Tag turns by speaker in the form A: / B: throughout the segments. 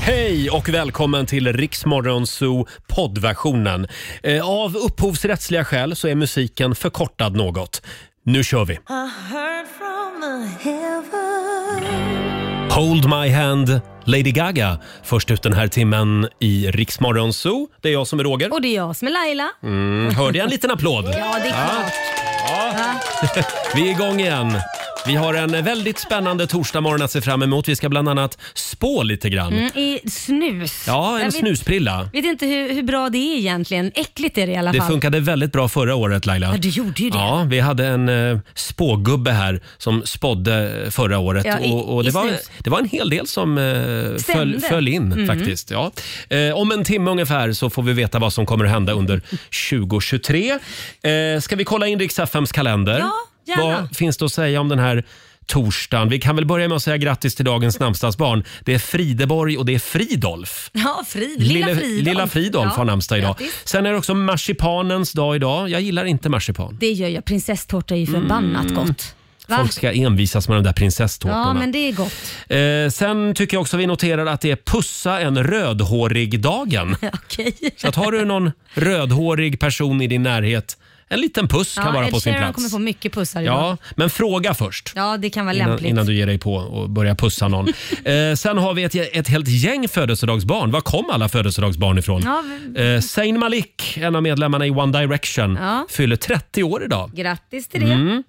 A: Hej och välkommen till Riksmorgon Zoo poddversionen. Eh, Av upphovsrättsliga skäl så är musiken förkortad något. Nu kör vi!
B: I heard from the heaven.
A: Hold My Hand, Lady Gaga, först ut den här timmen i Riksmorgon Zoo. Det är jag som är Roger.
C: Och det är jag som är Laila.
A: Mm, hörde jag en liten applåd?
C: Ja, det är
A: Ah.
C: klart. Va?
A: Vi är igång igen. Vi har en väldigt spännande torsdagmorgon att se fram emot. Vi ska bland annat spå lite grann.
C: Mm, I snus.
A: Ja, en
C: Jag
A: snusprilla.
C: Vet, vet inte hur, hur bra det är egentligen. Äckligt är det i alla
A: Det
C: fall.
A: funkade väldigt bra förra året Laila.
C: Ja, det gjorde ju det.
A: Ja, vi hade en eh, spågubbe här som spådde förra året
C: Ja, i-
A: och, och det,
C: i
A: var,
C: snus.
A: det var en hel del som eh, föll,
C: Stämde.
A: föll in
C: Mhm.
A: faktiskt. Ja. Eh, om en timme ungefär så får vi veta vad som kommer att hända under 2023. Eh, ska vi kolla in riks kalender?
C: Ja, gärna.
A: Vad finns det att säga om den här torsdagen? Vi kan väl börja med att säga grattis till dagens namnsdagsbarn. Det är Frideborg och det är Fridolf.
C: Ja, Frid. Lilla,
A: Lille-
C: Fridolf.
A: Lilla Fridolf har namnsdag idag.
C: grattis.
A: Sen är det också marsipanens dag idag. Jag gillar inte marsipan.
C: Det gör jag. Prinsesstårta är ju förbannat gott. Va?
A: Mm. Folk ska envisas med de där prinsesstårtorna.
C: ja, men det är gott.
A: eh, sen tycker jag också vi noterar att det är pussa en rödhårig-dagen.
C: Okej.
A: Så att har du någon rödhårig person i din närhet, en liten puss
C: Ja,
A: kan vara
C: Ed
A: på sin
C: Sheeran
A: plats.
C: kommer få mycket pussar
A: Ja,
C: idag.
A: men fråga först.
C: Ja, det kan vara
A: Innan,
C: lämpligt.
A: innan du ger dig på och börjar pussa någon. eh, sen har vi ett, ett helt gäng födelsedagsbarn. Var kom alla födelsedagsbarn ifrån?
C: Ja, v-
A: Eh, Zayn Malik, en av medlemmarna i One Direction,
C: Ja.
A: fyller 30 år idag.
C: Grattis till det.
A: Mm.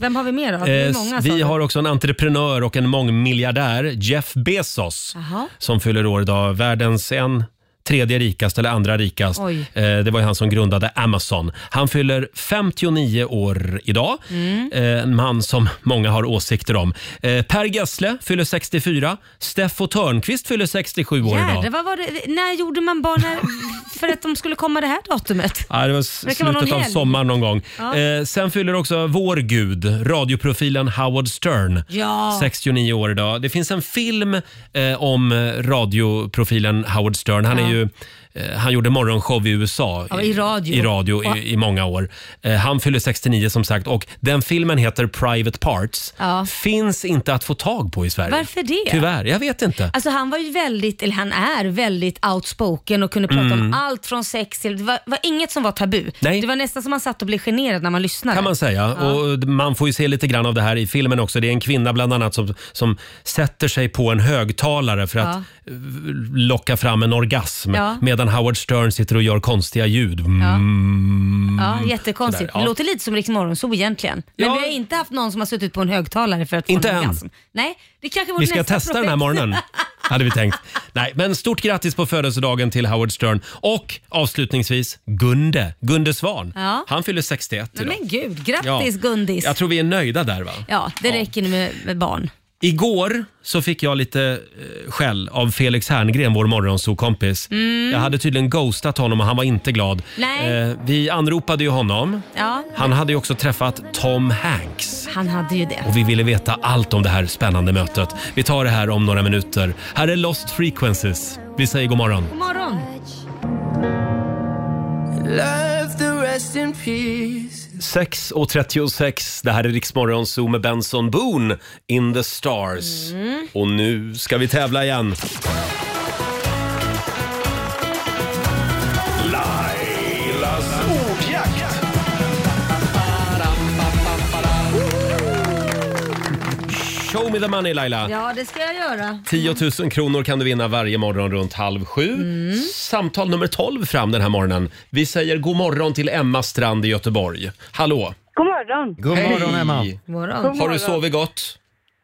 C: Vem har vi mer då? Det
A: Eh,
C: är
A: s-
C: många sa
A: vi
C: du.
A: har också en entreprenör och en mångmiljardär, Jeff Bezos,
C: Jaha.
A: som fyller år idag. Världens en tredje rikast eller andra rikast.
C: Oj.
A: Eh, det var ju han som grundade Amazon. Han fyller 59 år
C: Mm.
A: idag. Eh, en man som många har åsikter om. Eh, per Gessle fyller 64. Steffo Törnqvist fyller 67 år
C: Jädrar,
A: idag.
C: vad var det? När gjorde man barnen för att de skulle komma det här datumet?
A: Ja, det var s-
C: Det kan vara
A: slutet
C: någon
A: av
C: helg.
A: sommaren någon gång.
C: Ja.
A: Eh, sen fyller också vår gud, radioprofilen Howard Stern,
C: Ja.
A: 69 år idag. Det finns en film eh, om eh, radioprofilen Howard Stern. Han, är
C: Ja.
A: ju, eh, han gjorde morgonshow i USA
C: Ja, i radio.
A: i, radio
C: Och-
A: i, i många år. Eh, han fyller 69 som sagt och den filmen heter Private Parts.
C: Ja.
A: Finns inte att få tag på i Sverige.
C: Varför det?
A: Tyvärr, jag vet inte.
C: Alltså han var ju väldigt, eller han är väldigt outspoken och kunde prata
A: Mm.
C: om allt från sex till, det var, var inget som var tabu.
A: Nej.
C: Det var nästan som man satt och blev generad när man lyssnade.
A: kan man säga.
C: Ja.
A: Och man får ju se lite grann av det här i filmen också. Det är en kvinna bland annat som, som sätter sig på en högtalare för att eh, locka fram en orgasm
C: Ja.
A: medan Howard Stern sitter och gör konstiga ljud. Mm.
C: Ja, jättekonstigt.
A: Sådär, ja.
C: Det låter lite som Rix Morgonzoo egentligen. Men
A: Ja.
C: vi har inte haft någon som har suttit på en högtalare för att få
A: Inte
C: en
A: än.
C: orgasm. Nej, det kanske vore
A: Vi ska
C: nästa
A: testa
C: projekt.
A: den här morgonen. Hade vi tänkt. Nej, men stort grattis på födelsedagen till Howard Stern. Och avslutningsvis Gunde, Gunde Svan.
C: Ja.
A: Han fyller 61
C: Nej,
A: idag.
C: Men gud, grattis
A: Ja.
C: Gundis.
A: Jag tror vi är nöjda där va?
C: Ja, det räcker nu med, med barn.
A: Igår så fick jag lite eh, skäll av Felix Herngren, vår morgonsokompis.
C: Mm.
A: Jag hade tydligen ghostat honom och han var inte glad.
C: Nej.
A: Eh, vi anropade ju honom.
C: Ja,
A: Han hade ju också träffat Tom Hanks.
C: han hade ju det.
A: Och vi ville veta allt om det här spännande mötet. Vi tar det här om några minuter. Här är Lost Frequencies. Vi säger god morgon.
C: God morgon.
D: Love the rest in peace.
A: 6.36, det här är Riksmorgon Zoo med Benson Boone, In the Stars.
D: Mm.
A: Och nu ska vi tävla igen.
D: Lailas ordjakt.
A: 10 Show me the money Laila.
C: Ja, det ska jag göra.
A: 10 000 kronor kan du vinna varje morgon runt halv sju. Samtal nummer 12 fram den här morgonen. Vi säger god morgon till Emma Strand i Göteborg. Hallå!
E: God morgon.
A: God
F: morgon, Emma.
E: morgon.
A: Har du sovit gott?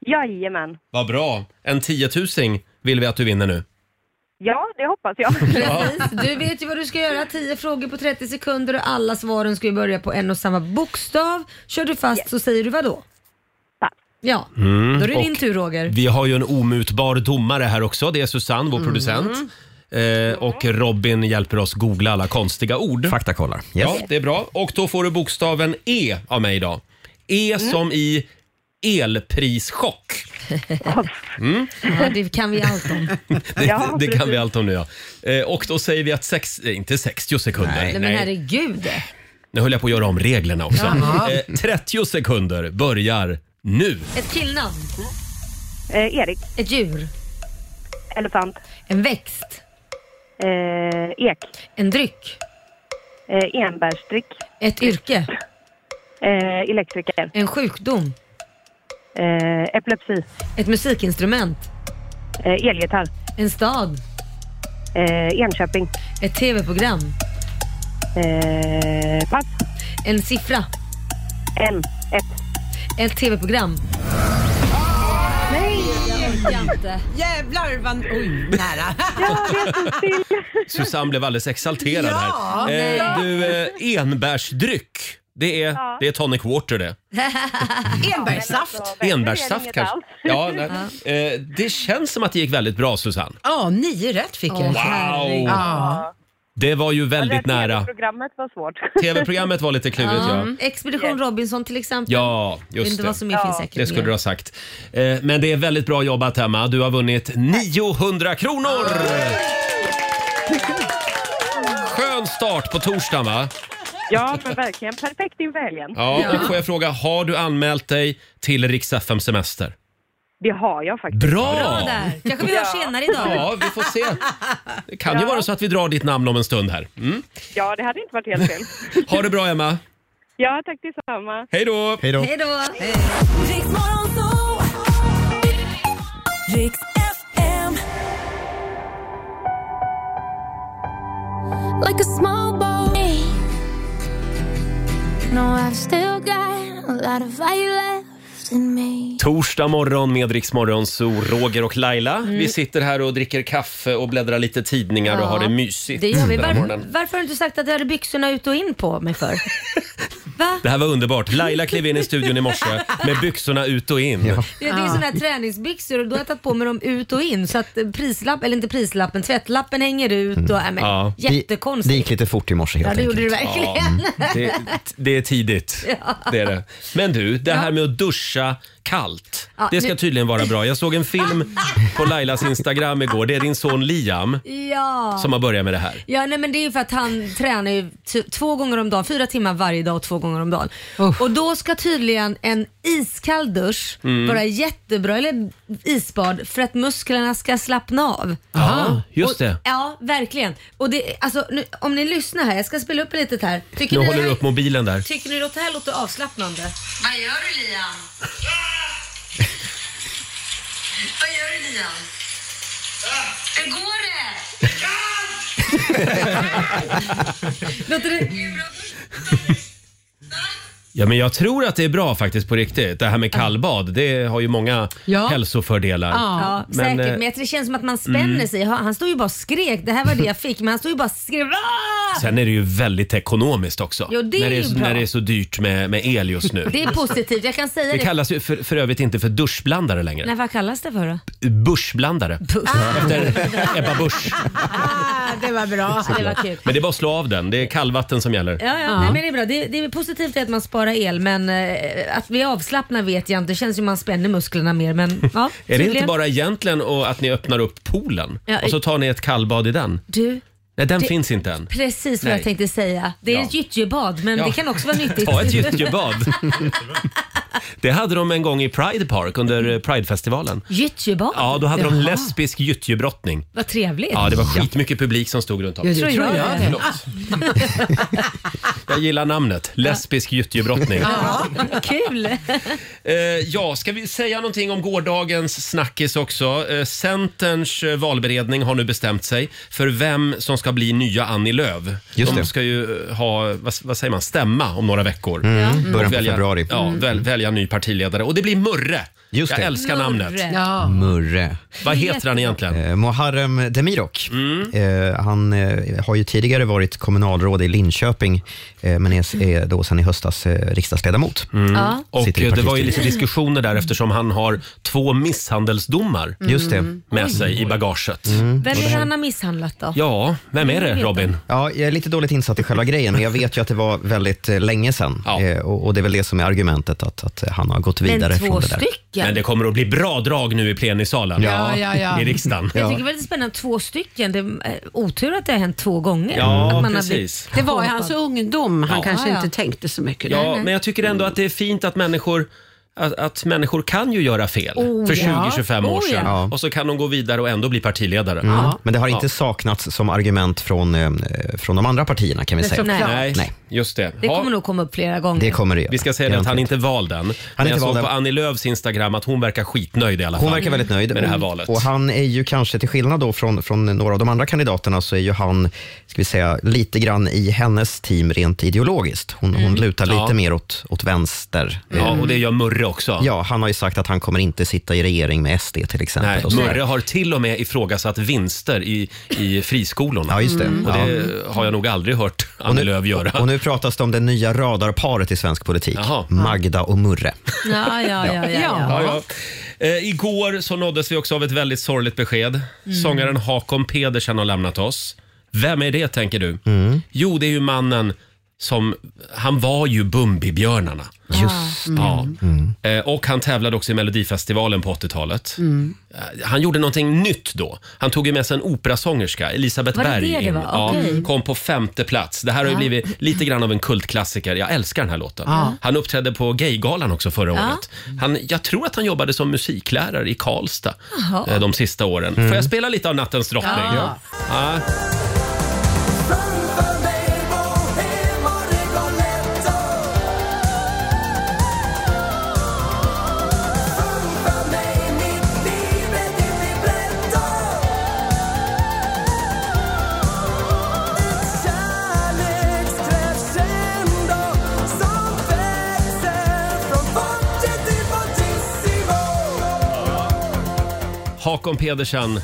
E: Jajamän.
A: Vad bra! En tiotusing vill vi att du vinner nu.
E: Ja, det hoppas jag.
C: Precis. Du vet ju vad du ska göra. 10 frågor på 30 sekunder och alla svaren ska ju börja på en och samma bokstav. Kör du fast så säger du vad då? Ja,
A: Mm,
C: då är det din
A: och
C: tur Roger.
A: Vi har ju en omutbar domare här också. Det är Susanne,
C: Mm.
A: vår producent. Eh, och Robin hjälper oss googla alla konstiga ord. Faktakollar. Ja, det är bra. Och då får du bokstaven E av mig idag. E
C: Mm.
A: som i elprischock. Mm.
C: Ja, det kan vi allt om.
A: Det, det kan vi allt om nu ja. Eh, och då säger vi att sex, eh, inte 60 sekunder.
C: Nej, men herregud.
A: Nu höll jag på att göra om reglerna också.
C: Jaha.
A: Eh, 30 sekunder börjar nu.
C: Ett killnamn.
E: Eh, Erik.
C: Ett djur.
E: Elefant.
C: En växt.
E: Eh, ek.
C: En dryck.
E: Eh, enbärsdryck.
C: Ett yrke.
E: Eh, elektriker.
C: En sjukdom.
E: Eh, epilepsi.
C: Ett musikinstrument.
E: Eh, elgitarr.
C: En stad.
E: Eh, Enköping.
C: Ett tv-program.
E: Eh, pass.
C: En siffra.
E: En. Ett.
C: Ett tv-program. Nej! Jag orkar inte.
F: Jävlar vad... Oj, nära.
A: Susanne blev alldeles exalterad
F: Ja,
A: här. Eh,
F: nej.
A: du, eh, enbärsdryck. Det är,
E: Ja.
A: det är tonic water det.
F: Enbärssaft.
A: Enbärssaft kanske. Ja, nej. Eh, det känns som att det gick väldigt bra Susanne.
F: Ja, nio rätt fick jag.
C: Åh,
A: Wow!
F: Ja.
A: Det var ju väldigt nära.
E: Programmet var svårt.
A: TV-programmet var lite klurigt ja.
C: Expedition Robinson till exempel.
A: Ja,
C: Vet
A: just
C: inte
A: det.
C: vad som mer finns säkert.
A: Det skulle
C: mer.
A: du ha sagt. Eh, Men det är väldigt bra jobbat Emma. Du har vunnit 900 kronor! Skön start på torsdagen va?
E: Ja, men verkligen. Perfekt inför helgen.
A: Ja, och får jag fråga, har du anmält dig till Rix FM Semester?
E: Det har jag faktiskt.
A: Bra!
C: Bra där. Kanske vi hörs senare idag.
A: Ja, vi får se. Det kan ju vara så att vi drar ditt namn om en stund här. Mm.
E: Ja, det hade inte varit helt fel.
A: Ha det bra Emma!
E: Ja, tack detsamma.
A: Hej då!
G: Hej då.
C: Hej då.
B: Riksmorgon Zoo. Riks FM. Like a small boy. No, I've still got a lot of fight left in me.
A: Torsdag morgon med Rix Morgon, så Roger och Laila. Vi sitter här och dricker kaffe och bläddrar lite tidningar och
C: Mm. Ja,
A: har det mysigt.
C: Det gör vi.
A: den här
C: Var,
A: morgonen.
C: varför har du inte sagt att jag hade byxorna ut och in på mig för? Va?
A: Det här var underbart. Laila klev in i studion i morse med byxorna ut och in. Ja.
C: Ja,
E: Ah.
C: det är sådana här träningsbyxor och då har jag tagit på mig dem ut och in så att prislappen, eller inte prislappen, tvättlappen hänger ut och, äh, men,
A: Mm. Ja.
C: jättekonstigt.
G: Det gick lite fort i morse helt
C: ja, det gjorde
G: enkelt.
C: du verkligen.
A: Det, det är tidigt. Det är det. Men du, det här med att duscha kallt.
C: Ja,
A: Det ska
C: nu-
A: tydligen vara bra. Jag såg en film på Lailas Instagram igår. Det är din son Liam
C: Ja.
A: som har börjat med det här.
C: Ja, nej, men det är ju för att han tränar ju ty- två gånger om dagen, fyra timmar varje dag och två gånger om dagen. Och då ska tydligen en iskall dusch
A: Mm.
C: vara jättebra, eller isbad, för att musklerna ska slappna av.
A: Ja, just
C: Och,
A: det.
C: ja, verkligen. Och det, alltså, nu, om ni lyssnar här, jag ska spela upp lite här. Tycker
A: Nu
C: ni,
A: håller du upp mobilen där.
C: Tycker ni att det här låter avslappnande? Vad gör du Liam? Vad gör du Liam? Hur går det? Låter det...
A: Ja, men jag tror att det är bra faktiskt på riktigt. Det här med kallbad, det har ju många
F: Ja.
A: hälsofördelar.
C: Ja,
A: Men,
C: säkert.
A: eh, mm.
C: Men jag tror det känns som att man spänner sig. Han han stod ju bara och skrek. Det här var det jag fick, men han stod ju bara och skrek. "Ah!"
A: Sen är det ju väldigt ekonomiskt också.
C: Jo, det är
A: när, det
C: ju
A: är,
C: bra.
A: när det är så dyrt med, med el just nu.
C: Det är positivt, jag kan säga
A: Det
C: det.
A: kallas ju för, för övrigt inte för duschblandare längre.
C: Nej, vad kallas det för då?
A: Börsblandare. Efter Ebba Busch.
F: Ah, det var bra.
C: Det var kul.
A: Men det är bara att slå av den. Det är kallvatten som gäller.
C: Ja, ja. Nej, men det är bra. Det, det är positivt att man sparar el men eh, att vi avslappnar vet jag inte. Det känns ju man spänner musklerna mer men ja.
A: Är det inte
C: tydligen.
A: bara egentligen och att ni öppnar upp poolen
C: Ja,
A: och så tar ni ett kallbad i den?
C: Du,
A: Nej, den
C: Det-
A: finns inte än.
C: precis vad
A: Nej.
C: jag tänkte säga. Det är
A: Ja.
C: ett gyttjebad men
A: Ja.
C: det kan också vara nyttigt.
A: Ta ett gyttjebad. Det hade de en gång i Pride Park under eh, Pridefestivalen.
C: Gyttjebad?
A: Ja, då hade de lesbisk gyttjebrottning.
C: Vad trevligt.
A: Ja, det var skitmycket publik som stod runt om.
F: det tror jag.
C: det.
F: det.
A: Jag gillar namnet. Lesbisk gyttjebrottning.
C: Kul!
A: Eh, ja, ska vi säga någonting om gårdagens snackis också? Eh, Centerns eh, valberedning har nu bestämt sig för vem som ska bli nya Annie Lööf.
G: Just
A: De
G: det.
A: ska ju eh, ha, vad, vad säger man, stämma om några veckor.
G: Mm. Början
A: Och
G: på februari.
A: Ja,
C: Mm.
A: väl, välja ny partiledare. Och det blir Murre.
G: Just
A: Jag
G: det.
A: älskar namnet.
C: Murre.
F: Ja.
G: Murre.
A: Vad heter han egentligen?
G: Eh, Muharrem Demirok.
A: Mm.
G: Eh, han eh, har ju tidigare varit kommunalråd i Linköping, eh, men är, är då sedan i höstas eh, riksdagsledamot.
C: Ja.
A: Och
G: Sitter i
A: eh, det var ju lite
G: partistyrelsen.
A: diskussioner där eftersom han har två misshandelsdomar
G: Mm. Just det. Mm.
A: med sig i bagaget.
C: Vem är det han har misshandlat då?
A: Ja, vem är det Robin?
G: Ja, jag är lite dåligt insatt i själva grejen, men jag vet ju att det var väldigt eh, länge sedan.
A: Ja.
G: Eh, och, och det är väl det som är argumentet, att, att han har gått vidare
C: Men
G: från
C: två
G: det där.
C: stycken?
A: Men det kommer att bli bra drag nu i plenisalen.
F: Ja, ja, ja.
A: I riksdagen.
C: Jag tycker det var lite spännande. Två stycken, det är eh, otur att det har hänt två gånger.
A: Ja,
C: att man har
A: precis.
C: blivit
F: Det var i hans
C: hånad.
F: ungdom. Han
A: Ja.
F: kanske
C: Ja, ja.
F: inte tänkte så mycket.
A: Ja, men jag tycker ändå att det är fint att människor att, att människor kan ju göra fel
G: Oh,
A: för
G: ja.
A: 20-25 år
G: Oh, ja.
A: sedan
G: Ja.
A: och så kan de gå vidare och ändå bli partiledare.
G: Mm. Men det har inte
A: Ja.
G: saknats som argument från, eh, från de andra partierna kan vi
C: Nej,
G: säga.
C: såklart.
A: Nej,
C: Nej.
A: just det.
C: Det
A: Ja,
C: kommer nog komma upp flera gånger.
G: Det kommer det
A: Vi ska säga det att han är inte vald än. Men jag
G: inte
A: såg
G: vald
A: på
G: än.
A: Annie Lööfs Instagram att hon verkar skitnöjd i alla fall.
G: Hon verkar väldigt nöjd.
A: Med det här
G: Och-
A: valet.
G: Och han är ju kanske, till skillnad då från, från några av de andra kandidaterna, så är ju han, ska vi säga, lite grann i hennes team rent ideologiskt. Hon,
C: Mm.
G: hon lutar lite
A: Ja.
G: mer åt, åt vänster. Mm.
A: Ja, och det gör Murre också.
G: Ja, han har ju sagt att han kommer inte sitta i regering med SD till exempel.
A: Nej,
G: och så där.
A: Murre har till och med ifrågasatt vinster i, i friskolorna. Mm.
G: Ja, just det.
C: Mm.
A: Och det har jag nog aldrig hört
G: Och
A: Annie
G: nu-
A: Lööf göra.
G: Och nu pratas det om det nya radarparet i svensk politik. Magda och Murre.
C: Ja, ja, ja. ja,
A: Ja,
C: ja.
A: ja. Eh, igår så nåddes vi också av ett väldigt sorgligt besked.
C: Mm.
A: Sångaren Hakon Pedersen har lämnat oss. Vem är det tänker du? Jo, det är ju mannen som... Han var ju Bumbibjörnarna.
G: Just
A: Ja. Eh, och han tävlade också i Melodifestivalen på 80-talet.
H: Mm.
A: Eh, Han gjorde någonting nytt då. Han tog ju med sig en operasångerska, Elisabeth
H: Var det
A: Berg.
H: det det
A: in.
H: var?
A: Ja,
H: Okej.
A: kom på femte plats. Det här har ju
H: Ja.
A: blivit lite grann av en kultklassiker. Jag älskar den här låten.
H: Ja.
A: Han uppträdde på Gaygalan också förra
H: Ja.
A: året. Han, jag tror att han jobbade som musiklärare i Karlstad
H: Jaha.
A: eh, de sista åren. Får
G: Mm.
A: jag spela lite av Nattens drottning?
H: Ja.
A: Ja. Hakon Pedersen,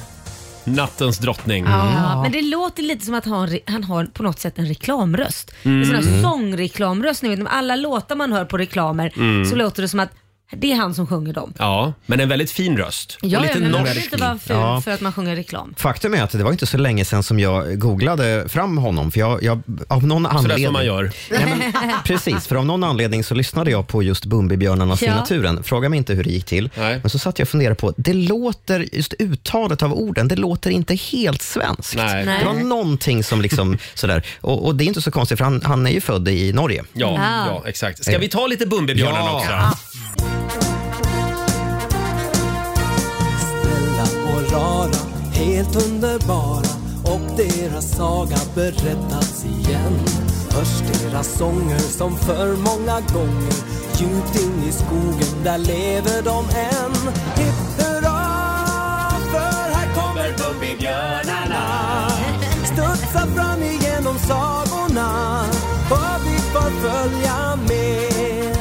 A: Nattens drottning. Mm.
C: Ja, men det låter lite som att han, han har på något sätt en reklamröst.
A: Mm.
C: En sån
A: Mm.
C: här sångreklamröst. Ni vet, med alla låtar man hör på reklamer
A: Mm.
C: så låter det som att det är han som sjunger dem.
A: Ja, men en väldigt fin röst.
C: Ja,
A: och
C: ja,
A: lite
C: men man
A: norsk.
C: behöver inte vara ful
G: Ja.
C: för att man sjunger reklam.
G: Faktum är att det var inte så länge sedan som jag googlade fram honom. För jag, jag, av någon
A: som
G: anledning,
A: man gör.
G: Nej, men, precis, för av någon anledning så lyssnade jag på just Bumbibjörnarnas
A: Ja.
G: i naturen. Fråga mig inte hur det gick till. Men så satt jag och funderade på, det låter, just uttalet av orden, det låter inte helt svenskt.
A: Nej. Nej.
G: Det var någonting som liksom sådär. Och, och det är inte så konstigt för han, han är ju född i Norge.
A: Ja, ja, exakt. Ska vi ta lite Bumbibjörnarna
G: Ja.
A: också?
G: Ja.
I: snälla och rara, helt underbara och deras saga berättas igen. Hörs deras sånger som för många gånger djupt in i skogen, där lever de än. Hipp hurra, för här kommer Bumbibjörnarna. Studsa fram igenom sagorna, vad vi får följa med.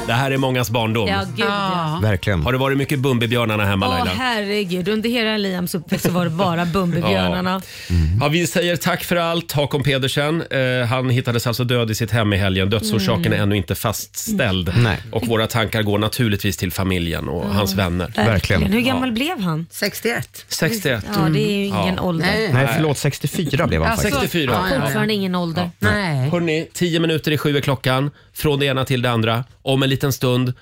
A: Det här är mångas barndom.
C: Ja, gud ja.
G: Verkligen.
A: Har det varit mycket Bumbibjörnarna hemma
C: Åh
A: Laila?
C: herregud, under hela Liams uppväxt så var det bara Bumbibjörnarna.
G: Mm.
A: Ja, vi säger tack för allt, Hakon Pedersen. Eh, han hittades alltså död i sitt hem i helgen. Dödsorsaken
C: Mm.
A: är ännu inte fastställd.
G: Mm.
A: Och våra tankar går naturligtvis till familjen och
C: Ja,
A: hans vänner.
C: Mm. Hur
A: Ja.
C: gammal blev han? 61.
A: 61.
C: Ja, det är ju ingen
A: Mm. Ja.
C: ålder.
G: Nej, förlåt, 64 blev han
C: Alltså,
G: faktiskt.
A: 64.
C: Ja, Fortfarande ingen ålder. Nej.
A: Hörni, tio minuter i sju är klockan. Från det ena till det andra. Om en liten stund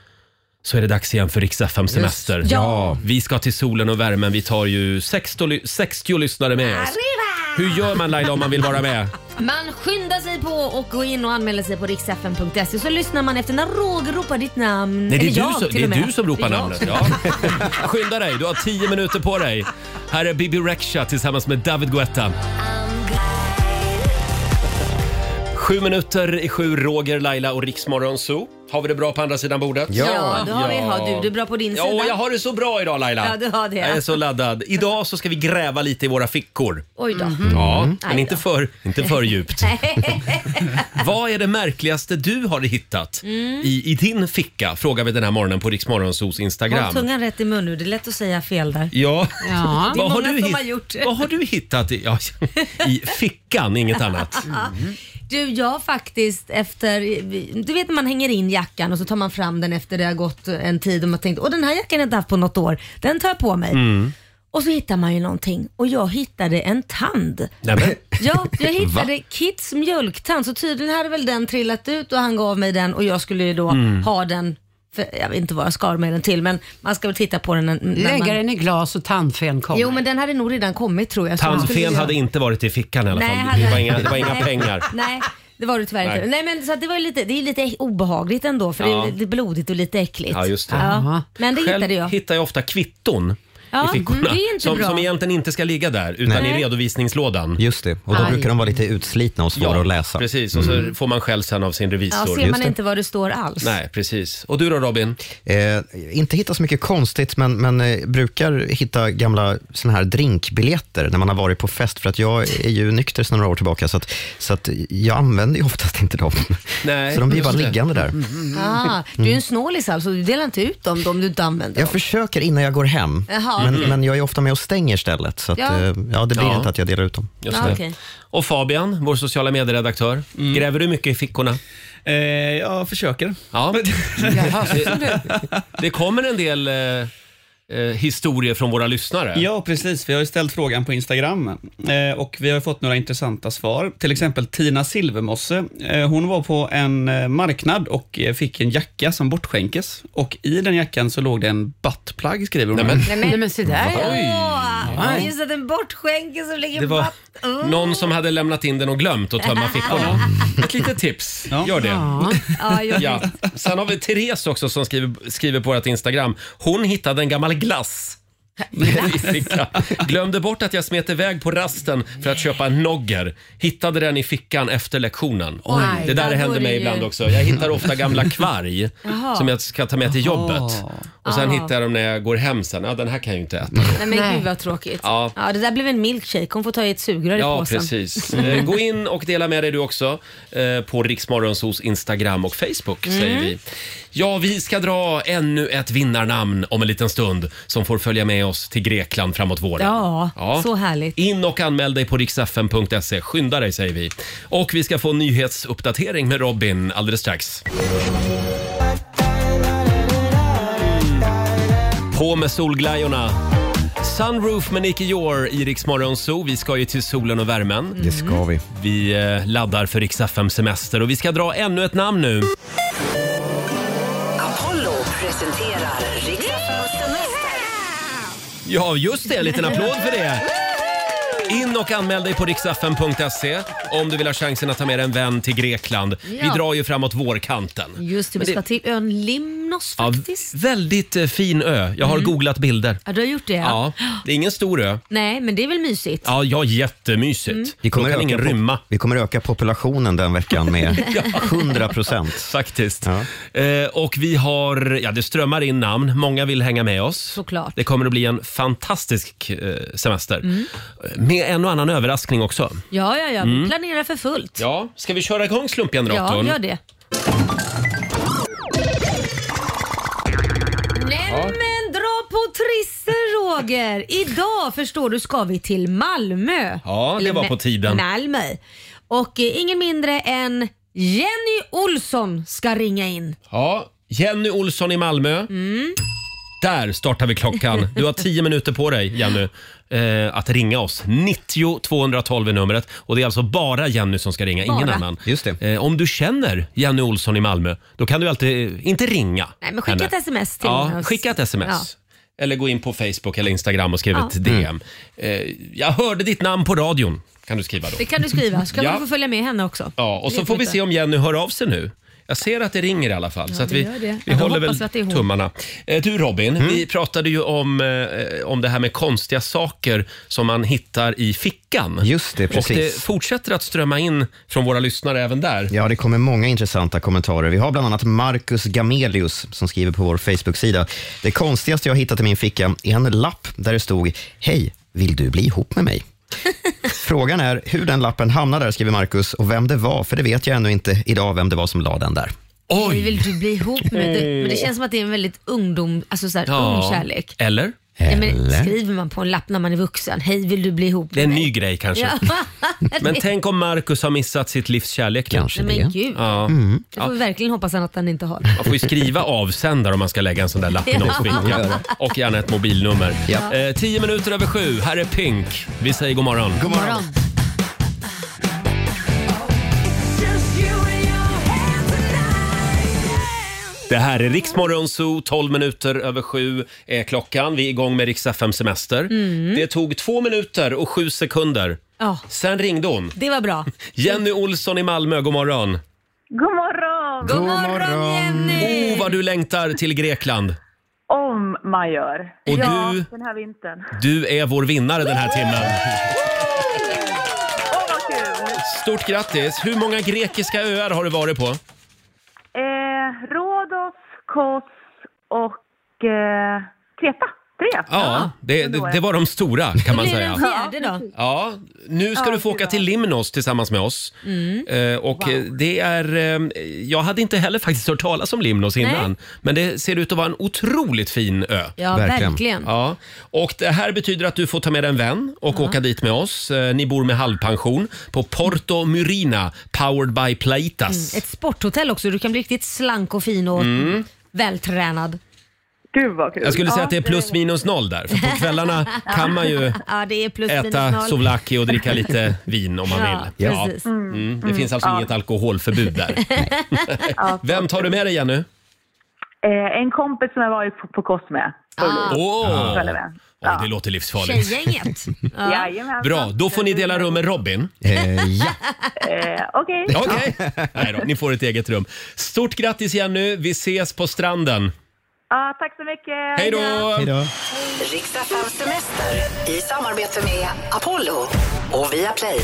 A: så är det dags igen för Rix FM semester.
C: Just- ja.
A: Vi ska till solen och värmen. Vi tar ju 60, ly- 60 lyssnare med oss. Hur gör man Laila om man vill vara med?
C: Man skyndar sig på och går in och anmäler sig på riksfn.se så lyssnar man efter när Roger ropar ditt namn.
A: Nej, det är,
C: Mm, Eller
A: du,
C: jag,
A: som,
C: till
A: det
C: och
A: är
C: med.
A: du som ropar
C: Det är jag
A: namnet.
C: som-
A: Ja. Skynda dig, du har tio minuter på dig. Här är Bibi Rexha tillsammans med David Guetta. Sju minuter i sju, Roger, Laila och Riksmorgon Zoo. Har vi det bra på andra sidan bordet?
C: Ja. Ja, det har vi. Har du det bra på din
A: ja,
C: sida?
A: jag har det så bra idag Laila.
C: Ja, du har det.
A: Jag är så laddad. Idag så ska vi gräva lite i våra fickor. Mm.
C: Oj då. Mm.
A: Ja, men
C: Aj
A: inte
C: då.
A: för, inte för djupt. Vad är det märkligaste du har hittat
C: Mm.
A: i, i din ficka? Frågar vi den här morgonen på Riksmorgonsos
C: Håll
A: Instagram.
C: tungan rätt i mun nu, det är lätt att säga fel där.
A: Ja.
C: Ja. Det är
A: Vad, har
C: många
A: du
C: som
A: hitt-
C: har gjort.
A: vad har du hittat i, ja, i fickan? Inget annat.
C: Mm. Du, jag har faktiskt efter... Du vet när man hänger in jackan och så tar man fram den efter det har gått en tid och man tänkt åh den här jackan har jag inte haft på något år, den tar jag på mig.
A: Mm.
C: Och så hittar man ju någonting och jag hittade en tand.
A: Nej, men.
C: Ja, jag hittade
A: Va?
C: Kits mjölktand så tydligen hade väl den trillat ut och han gav mig den och jag skulle ju då
J: Mm.
C: ha den, för, jag vet inte vad jag skar med den till men man ska väl titta på den när, när
J: Lägga
C: man...
J: den i glas och tandfen kommer.
C: Jo men den hade nog redan kommit tror jag. så man skulle
A: Tandfen
C: göra-
A: hade inte varit i fickan i alla
C: Nej,
A: fall.
C: hade
A: Det var
C: jag
A: inga,
C: inte.
A: det var inga
C: Nej.
A: pengar.
C: Nej, det var du tyvärr
A: Nej.
C: inte. Nej, men så att det, var ju lite, det är ju lite äck- obehagligt ändå för
A: Ja.
C: det är lite blodigt och lite äckligt.
A: Ja, just det.
C: Ja. Men det
A: Själv
C: hittade jag.
A: hittar jag ofta kvitton
C: Ja,
A: i
C: mm,
A: fickorna.
C: det är inte
A: som,
C: bra.
A: som egentligen inte ska ligga där, utan
C: Nej.
A: i redovisningslådan.
G: Just det, och då
C: Aj.
G: brukar de vara lite utslitna och svåra
A: Ja,
G: att läsa. Mm.
A: Precis, och så får man skäll sen av sin revisor.
C: Ja, ser man inte vad det står alls.
A: Nej, precis. Och du då Robin?
G: Eh, inte hitta så mycket konstigt, men, men eh, brukar hitta gamla såna här drinkbiljetter när man har varit på fest, för att jag är ju nykter sedan några år tillbaka, så, att, så att jag använder ju oftast inte dem.
A: Nej,
G: så de blir bara
A: just det.
G: liggande där.
C: Ah, du
J: Mm.
C: är en snålis alltså, du delar inte ut dem, de du inte använder.
G: Jag försöker innan jag går hem,
C: Jaha.
G: men,
C: Mm.
G: men jag är ofta med och stänger stället, så att,
C: Ja.
G: ja. Ja, det blir
A: Ja.
G: inte att jag delar ut dem.
A: Just
C: Ja,
A: det.
C: okej.
A: Och Fabian, vår sociala medieredaktör. Gräver du mycket i fickorna?
H: jag försöker.
A: Ja. det, det kommer en del eh, eh, historier från våra lyssnare.
H: Ja, precis. Vi har ju ställt frågan på Instagram eh, och vi har fått några intressanta svar. Till exempel Tina Silvermosse. Eh, hon var på en eh, marknad och eh, fick en jacka som bortskänkes och i den jackan så låg det en buttplug skriver hon.
A: Nämen.
C: Nej, men,
J: Nej, men se där ja.
C: Åh, just att en bortskänke som ligger
A: Det var Mm.
C: på... Oh.
A: någon som hade lämnat in den och glömt att tömma fickorna. Ett litet tips. Gör det.
C: Ja, jag
A: Ja. Sen har vi Therese också som skriver, skriver på vårt Instagram. Hon hittade en gammal glass. i fickan. Glömde bort att jag smet iväg på rasten för att köpa en nogger. Hittade den i fickan efter lektionen. det där
C: där
A: händer
C: var det
A: mig
C: ju-
A: ibland också. Jag hittar ofta gamla kvarg
C: Jaha.
A: som jag ska ta med till jobbet. Och sen
C: Ah.
A: hittar jag dem när jag går hem sen. Ja, den här kan jag ju inte äta.
C: Nej men gud vad tråkigt.
A: Ja.
C: Ja. det där blev en milkshake. Hon får ta i ett sugrör i
A: Ja,
C: påsen.
A: precis. Eh, Gå in och dela med dig du också eh, på Riksmorgonsos Instagram och Facebook
C: Mm.
A: säger vi. Ja, vi ska dra ännu ett vinnarnamn om en liten stund som får följa med oss till Grekland framåt våren.
C: Ja, så härligt.
A: In och anmäl dig på riksfn.se. Skynda dig säger vi. Och vi ska få en nyhetsuppdatering med Robin alldeles strax. Mm. På med solglajjorna. Sunroof med Nicky Jor i Rix Morgon Zoo. Vi ska ju till solen och värmen.
G: Det ska vi.
A: Vi eh, laddar för Rix FM semester och vi ska dra ännu ett namn nu.
K: Apollo presenterar Riksdagens semester.
A: Ja, just det. En liten applåd för det. In och anmäl dig på riksfn.se om du vill ha chansen att ta med en vän till Grekland. Vi
C: Ja.
A: drar ju framåt vårkanten.
C: Just det, vi
A: Men det-
C: ska till ön Limnos
A: Ja,
C: faktiskt. Mm.
A: väldigt eh, fin ö. Jag har googlat bilder.
C: Ja, du har gjort det?
A: Ja, det är ingen stor ö.
C: Nej, men det är väl mysigt?
A: Ja, ja jättemysigt.
C: Mm.
G: Vi kommer,
A: Då kan ingen
G: öka, pop-
A: rymma.
G: vi kommer öka populationen den veckan med 100 procent.
A: Faktiskt. Eh, och vi har, ja det strömmar in namn. Många vill hänga med oss.
C: Såklart. Mm.
A: Det kommer att bli en fantastisk eh, semester. Med en och annan överraskning också.
C: Ja, ja, ja.
A: Mm.
C: Vi planerar för fullt.
A: Ja, ska vi köra igång
C: Ja,
A: slumpgeneratorn?
C: gör det. Nej men dra på trissen Roger! Idag förstår du ska vi till Malmö.
A: Ja, det
C: Eller
A: var
C: Ma-
A: på tiden.
C: Malmö. Och eh, ingen mindre än Jenny Olsson ska ringa in.
A: Ja, Jenny Olsson i Malmö.
C: Mm.
A: Där startar vi klockan. Du har tio minuter på dig, Jenny, eh, att ringa oss. 90 212 är numret. Och Det är alltså bara Jenny som ska ringa, ingen
C: Bara.
A: annan.
G: Just det.
A: Eh, om du känner Jenny Olsson i Malmö, då kan du alltid, eh, inte ringa
C: Nej, men skicka
A: henne.
C: ett sms till
A: Ja,
C: oss.
A: skicka ett sms. Eller gå in på Facebook eller Instagram och skriv
C: Ja. Mm.
A: ett DM. Eh, jag hörde ditt namn på radion, kan du skriva då.
C: Det kan du skriva, så kan
A: Ja.
C: man få följa med henne också.
A: Ja, och
C: Det
A: så
C: vet
A: får
C: vi
A: vi
C: inte.
A: se om Jenny hör av sig nu. Jag ser att det ringer i alla fall, så att
C: det
A: vi,
C: gör det.
A: vi
C: Ja, då
A: håller
C: hoppas vi
A: väl
C: att det är hon.
A: tummarna. Eh, Du Robin,
G: Mm.
A: vi pratade ju om, eh, om det här med konstiga saker som man hittar i fickan.
G: Just det,
A: Och
G: precis.
A: det fortsätter att strömma in från våra lyssnare även där.
G: Ja, det kommer många intressanta kommentarer. Vi har bland annat Marcus Gamelius som skriver på vår Facebook-sida. Det konstigaste jag hittat i min ficka är en lapp där det stod “Hej, vill du bli ihop med mig?” Frågan är hur den lappen hamnade där, skriver Marcus, och vem det var, för det vet jag ännu inte idag vem det var som la den där.
C: Hej, Vill du bli ihop med det? Men det känns som att det är en väldigt ungdom, alltså så här, ung kärlek.
A: Eller?
C: Nej, men
G: Eller?
C: skriver man på en lapp när man är vuxen? Hej, vill du bli ihop
A: Det är
C: med
A: en
C: mig?
A: ny grej kanske.
C: Ja.
A: Men tänk om Marcus har missat sitt livs kärlek nu.
G: Kanske
C: Nej, men
G: det. Mm.
C: gud.
A: Ja.
C: Det får vi verkligen hoppas att han inte har.
A: Man får ju skriva avsändare om man ska lägga en sån där lapp i någons ficka. Och gärna ett mobilnummer.
G: Ja.
A: Eh, tio minuter över sju. Här är Pink. Vi säger god morgon.
G: God morgon.
A: Det här är Riksmorgon Zoo. 12 minuter över sju är klockan. Vi är igång med Riks FM Semester. Det tog två minuter och sju sekunder
C: Ja,
A: Sen ringde hon.
C: det var bra.
A: Jenny Olsson i Malmö, god morgon.
L: God morgon!
A: God morgon Jenny! Oh, vad du längtar till Grekland.
L: Om man gör.
A: Och
L: ja,
A: du-
L: den här vintern.
A: Du är vår vinnare den här timmen.
L: Åh, vad kul!
A: Stort grattis! Hur många grekiska öar har du varit på?
L: Eh, Rhodos, Kos och eh, Kreta. Tre.
A: Ja, det, det, det var de stora kan man säga.
L: fjärde då?
A: Ja, nu ska du få åka till Limnos tillsammans med oss.
L: Mm.
A: Eh, och eh, det är, eh, jag hade inte heller faktiskt hört talas om Limnos innan.
C: Nej.
A: Men det ser ut att vara en otroligt fin ö.
C: Ja, Verkligen. verkligen.
A: Ja. Och det här betyder att du får ta med en vän och åka dit med oss. Eh, Ni bor med halvpension på Porto Murina, powered by
C: Mm.
A: Playtas.
C: Ett sporthotell också. Du kan bli riktigt slank och fin och
A: Mm.
C: vältränad.
L: Gud vad kul.
A: Jag skulle säga att det är plus minus noll där. För på kvällarna kan man ju
C: ja, det är plus minus
A: äta
C: noll.
A: souvlaki och dricka lite vin om man
C: Ja,
A: vill.
C: precis.
A: Mm.
C: Mm.
A: Det finns alltså
L: Ja.
A: inget alkoholförbud där. Vem tar du med dig Jenny?
L: Eh, en kompis som jag varit på, på Kos med.
A: Åh.
L: Följer med.
A: Oj, det låter livsfarligt.
C: Tjejgänget.
L: Jajamän.
A: Bra, då får ni dela rum med Robin.
G: ja.
L: Eh, Okej.
A: Okej. Nej då, ni får ett eget rum. Stort grattis Jenny, vi ses på stranden.
L: Ja, tack så mycket.
A: Hej då!
K: Riksdagen semester i samarbete med Apollo och Viaplay.